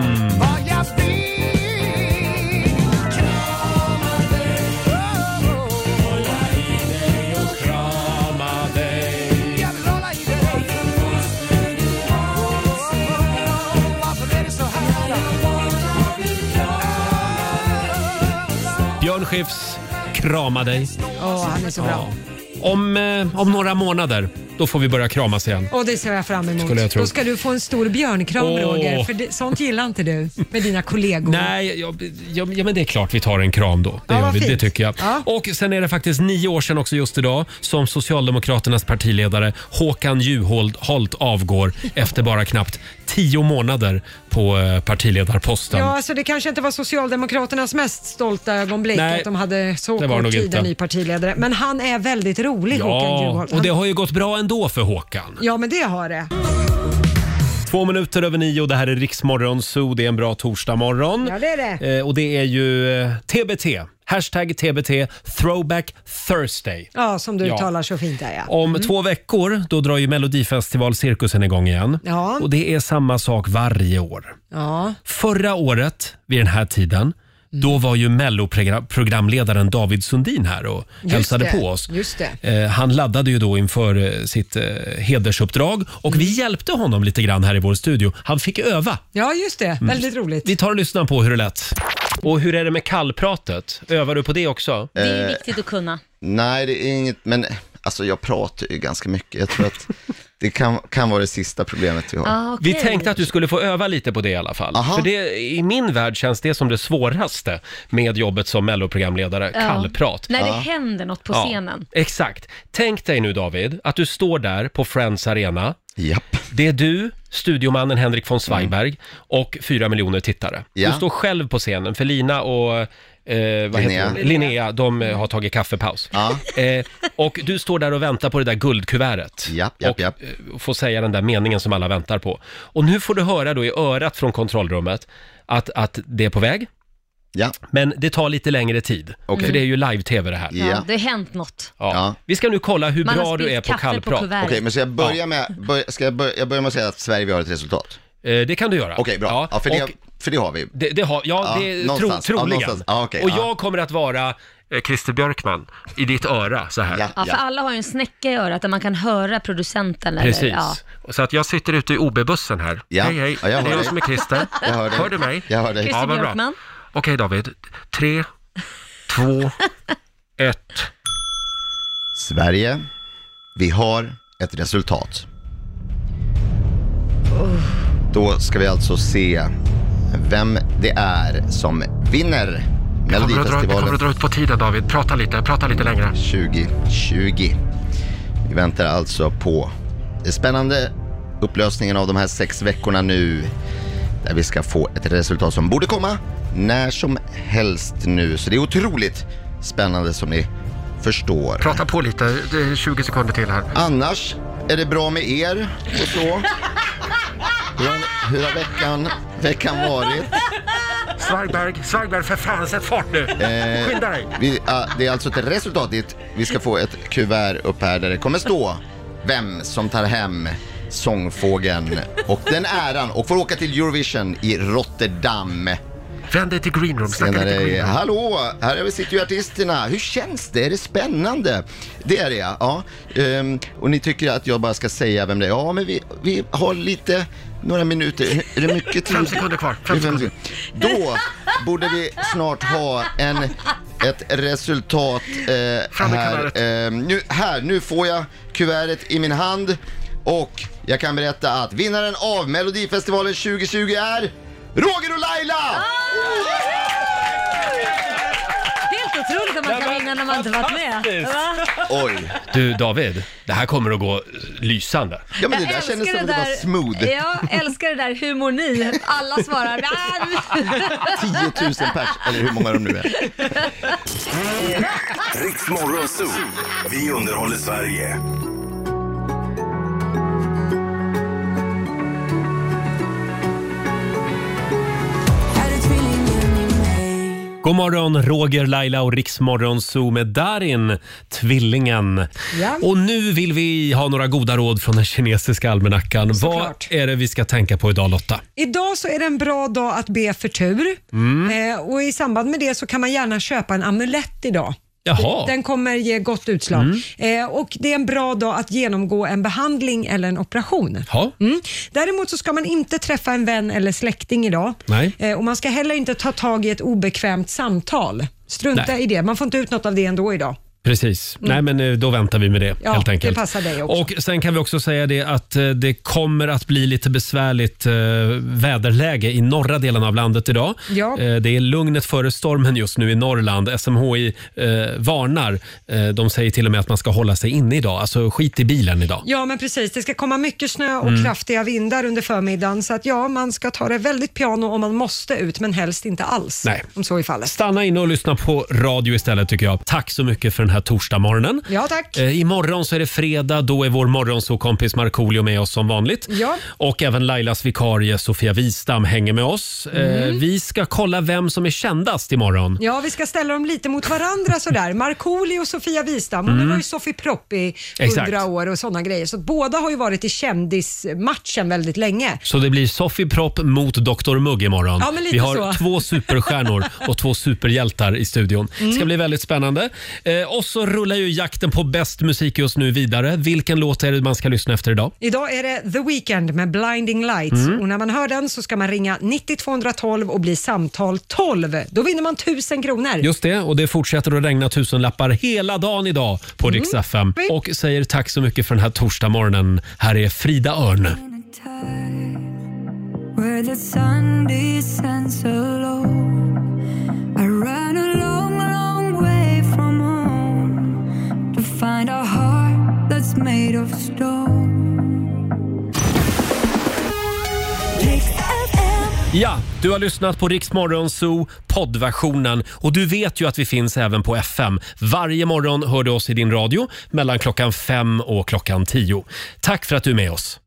Speaker 1: Björn Skifs, krama dig.
Speaker 2: Åh, han är så bra.
Speaker 1: Om, eh, om några månader, då får vi börja kramas igen.
Speaker 2: Och det ser jag fram emot.
Speaker 1: Skulle jag tro.
Speaker 2: Då ska du få en stor björnkram
Speaker 1: Åh.
Speaker 2: Roger, för det, sånt gillar inte du med dina kollegor.
Speaker 1: Nej, ja, ja, ja, men det är klart vi tar en kram då. Det,
Speaker 2: Ja,
Speaker 1: gör
Speaker 2: vad
Speaker 1: vi, det
Speaker 2: fint.
Speaker 1: tycker jag. Och sen är det faktiskt nio år sedan också just idag som Socialdemokraternas partiledare Håkan Juholt Holt avgår efter bara knappt tio månader på eh, partiledarposten.
Speaker 2: Ja, alltså det kanske inte var Socialdemokraternas mest stolta ögonblick
Speaker 1: Nej,
Speaker 2: att de hade så
Speaker 1: det var
Speaker 2: kort
Speaker 1: nog
Speaker 2: tid
Speaker 1: inte.
Speaker 2: en ny partiledare. Men han är väldigt rolig, Håkan
Speaker 1: Ja,
Speaker 2: Juholt.
Speaker 1: och
Speaker 2: Han-
Speaker 1: det har ju gått bra ändå för Håkan.
Speaker 2: Ja, men det har det.
Speaker 1: Två minuter över nio, det här är Riksmorgon Zoo. Det är en bra torsdagmorgon.
Speaker 2: Ja, det är det.
Speaker 1: Eh, och det är ju eh, TBT. Hashtag TBT, Throwback Thursday.
Speaker 2: Ja, som du
Speaker 1: Ja.
Speaker 2: uttalar så fint där ja.
Speaker 1: Om
Speaker 2: Mm.
Speaker 1: två veckor då drar ju Melodifestivalcirkusen igång igen.
Speaker 2: Ja.
Speaker 1: Och det är samma sak varje år.
Speaker 2: Ja. Mm.
Speaker 1: Förra året vid den här tiden då var ju Mello-programledaren David Sundin här och
Speaker 2: Just
Speaker 1: hälsade
Speaker 2: det.
Speaker 1: på oss.
Speaker 2: Just det.
Speaker 1: Eh, Han laddade ju då inför eh, sitt eh, hedersuppdrag och
Speaker 2: Mm.
Speaker 1: vi hjälpte honom lite grann här i vår studio. Han fick öva.
Speaker 2: Ja, just det.
Speaker 1: Mm.
Speaker 2: Väldigt roligt.
Speaker 1: Vi tar och lyssnar på hur det lät. Och hur är det med kallpratet? Övar du på det också?
Speaker 21: Det
Speaker 22: Eh,
Speaker 21: är
Speaker 22: viktigt att kunna.
Speaker 21: Nej, det är inget, men alltså jag pratar ju ganska mycket. Jag tror att det kan, kan vara det sista problemet vi har.
Speaker 22: Ah, okej.
Speaker 1: Vi tänkte att du skulle få öva lite på det i alla fall.
Speaker 21: Aha.
Speaker 1: För det, i min värld känns det som det svåraste med jobbet som melloprogramledare,
Speaker 22: Ja.
Speaker 1: kallprat.
Speaker 22: När det händer något på
Speaker 1: Ja,
Speaker 22: scenen.
Speaker 1: Exakt. Tänk dig nu David, att du står där på Friends Arena. Det är du, studiomannen Henrik von Zweigbergk och fyra miljoner tittare.
Speaker 21: Ja.
Speaker 1: Du står själv på scenen för Lina och eh, vad
Speaker 21: Linnea.
Speaker 1: Linnea. Heter hon? Linnea, de eh, har tagit kaffepaus. Eh, och du står där och väntar på det där guldkuvertet. och eh, får säga den där meningen som alla väntar på. Och nu får du höra då i örat från kontrollrummet att, att det är på väg. Men det tar lite längre tid.
Speaker 22: Okej.
Speaker 1: För det är ju live-tv det här.
Speaker 22: Ja. Det har hänt något.
Speaker 1: Ja. Vi ska nu kolla hur
Speaker 22: Man har
Speaker 1: bra du
Speaker 22: spillt
Speaker 1: är på
Speaker 22: kaffe på
Speaker 1: kallprat.
Speaker 22: kuvertet.
Speaker 21: Okej, men ska jag börja med, börja, ska jag börja, jag börjar med att säga att Sverige, vi har ett resultat?
Speaker 1: Eh, det kan du göra.
Speaker 21: Okej, bra. Ja, för, det,
Speaker 1: och-
Speaker 21: för det har vi.
Speaker 1: Det, det har, ja,
Speaker 21: Ja,
Speaker 1: det är tro,
Speaker 21: någonstans. Ja,
Speaker 1: troligen.
Speaker 21: någonstans. Ja, okej,
Speaker 1: och
Speaker 21: ja.
Speaker 1: jag kommer att vara eh, Christer Björkman i ditt öra så här.
Speaker 22: Ja, för alla har ju en snäcka i örat där man kan höra producenten. Eller,
Speaker 1: Precis.
Speaker 22: Eh, Ja.
Speaker 1: Så att jag sitter ute i OB-bussen här.
Speaker 21: Ja.
Speaker 1: Hej, hej.
Speaker 21: Ja, jag
Speaker 1: det är
Speaker 21: hör
Speaker 1: jag
Speaker 21: dig.
Speaker 1: som är Christer.
Speaker 21: Jag hör dig.
Speaker 1: du mig?
Speaker 21: Jag hör dig.
Speaker 22: Christer
Speaker 1: Ja, vad bra.
Speaker 22: Björkman.
Speaker 1: Okej David, tre, två, ett.
Speaker 21: Sverige, vi har ett resultat. Då ska vi alltså se vem det är som vinner
Speaker 1: Det kommer, att dra, det kommer
Speaker 21: Melodifestivalen
Speaker 1: att dra ut på tiden David. Prata lite, prata lite längre.
Speaker 21: 2020. Vi väntar alltså på det spännande upplösningen av de här sex veckorna nu. Där vi ska få ett resultat som borde komma när som helst nu. Så det är otroligt spännande som ni förstår.
Speaker 1: Prata på lite, det är 20 sekunder till här.
Speaker 21: Annars är det bra med er och så. Hur har, hur har veckan, veckan varit?
Speaker 1: Svargberg, Svargberg för fan, sätt fart nu!
Speaker 21: Eh,
Speaker 1: Skynda dig!
Speaker 21: vi, ah, det är alltså ett resultat dit. Vi ska få ett kuvert upp här där det kommer stå vem som tar hem sångfågeln och den äran och får åka till Eurovision i Rotterdam.
Speaker 1: Vänd dig till Green Room, snacka lite
Speaker 21: Senare,
Speaker 1: Green Room.
Speaker 21: hallå, här är vi sitter ju artisterna. Hur känns det? Är det spännande? Det är det ja. ja. Ehm, och ni tycker att jag bara ska säga vem det är? Ja, men vi, vi har lite, några minuter. Är det mycket tid?
Speaker 1: Fem sekunder kvar.
Speaker 21: Det är fem sekunder. Då borde vi snart ha en, ett resultat eh, här. Eh, nu, här. Nu får jag kuvertet i min hand och jag kan berätta att vinnaren av Melodifestivalen 2020 är Roger och Laila!
Speaker 22: Ah! Helt otroligt att man kan vinna när man inte varit med. Va?
Speaker 21: Oj.
Speaker 1: Du David, det här kommer att gå eh, lysande.
Speaker 21: Ja,
Speaker 22: Jag älskar där- Ja, Jag älskar det där, hur mår ni? Alla svarar "Ah."
Speaker 21: 10 000 pers, eller hur många de nu är.
Speaker 3: Riks Morgonzoo. Vi underhåller Sverige.
Speaker 1: God morgon, Roger, Laila och Riksmorgon Zoo med Darin, tvillingen.
Speaker 2: Ja.
Speaker 1: Och nu vill vi ha några goda råd från den kinesiska almanackan. Vad är det vi ska tänka på idag Lotta?
Speaker 2: Idag så är det en bra dag att be för tur
Speaker 1: Mm.
Speaker 2: eh, och i samband med det så kan man gärna köpa en amulett idag.
Speaker 1: Jaha.
Speaker 2: Den kommer ge gott utslag.
Speaker 1: Mm.
Speaker 2: Eh, och Det är en bra dag att genomgå en behandling eller en operation.
Speaker 1: Ja.
Speaker 2: Mm. Däremot så ska man inte träffa en vän eller släkting idag.
Speaker 1: Nej.
Speaker 2: Eh, och Man ska heller inte ta tag i ett obekvämt samtal. Strunta
Speaker 1: Nej.
Speaker 2: i det. Man får inte ut något av det ändå idag.
Speaker 1: Precis.
Speaker 2: Mm.
Speaker 1: Nej, men eh, då väntar vi med det
Speaker 2: Ja,
Speaker 1: helt enkelt.
Speaker 2: det passar dig också.
Speaker 1: Och sen kan vi också säga det att eh, det kommer att bli lite besvärligt eh, väderläge i norra delen av landet idag.
Speaker 2: Ja.
Speaker 1: Eh, det är lugnet före stormen just nu i Norrland. SMHI eh, varnar. Eh, de säger till och med att man ska hålla sig inne idag. Alltså skit i bilen idag.
Speaker 2: Ja, men precis. Det ska komma mycket snö och
Speaker 1: Mm.
Speaker 2: kraftiga vindar under förmiddagen. Så att ja, man ska ta det väldigt piano om man måste ut, men helst inte alls.
Speaker 1: Nej.
Speaker 2: Om så är fallet.
Speaker 1: Stanna inne och lyssna på radio istället tycker jag. Tack så mycket för den här torsdagsmorgonen.
Speaker 2: Ja, tack.
Speaker 1: Eh, imorgon så är det fredag. Då är vår morgonsåkompis Markoolio med oss som vanligt.
Speaker 2: Ja.
Speaker 1: Och även Lailas vikarie Sofia Wistam hänger med oss. Eh,
Speaker 2: Mm.
Speaker 1: vi ska kolla vem som är kändast imorgon.
Speaker 2: Ja, vi ska ställa dem lite mot varandra sådär. Markoolio och Sofia Wistam, hon
Speaker 1: Mm.
Speaker 2: var ju Sofie Propp i
Speaker 1: Exakt.
Speaker 2: hundra år och sådana grejer. Så att båda har ju varit i kändismatchen väldigt länge.
Speaker 1: Så det blir Sofie Propp mot Dr Mugg imorgon.
Speaker 2: Ja, men lite
Speaker 1: Vi har
Speaker 2: så.
Speaker 1: två superstjärnor och två superhjältar i studion. Det ska
Speaker 2: Mm.
Speaker 1: bli väldigt spännande. Eh, Och så rullar ju jakten på bäst musik just nu vidare. Vilken låt är det man ska lyssna efter idag?
Speaker 2: Idag är det The Weeknd med Blinding Lights
Speaker 1: Mm.
Speaker 2: och när man hör den så ska man ringa 90 212 och bli samtal 12. Då vinner man 1000 kronor.
Speaker 1: Just det, och det fortsätter att regna tusenlappar hela dagen idag på
Speaker 2: Mm.
Speaker 1: Rix FM. Och säger tack så mycket för den här torsdagsmorgonen. Här är Frida Örn.
Speaker 4: where the sun descends alone. I ran a long, long way from home to find a heart that's made of stone.
Speaker 1: Ja, du har lyssnat på Rix Morgon Zoo poddversionen och du vet ju att vi finns även på FM. Varje morgon hör du oss i din radio mellan klockan fem och klockan tio. Tack för att du är med oss.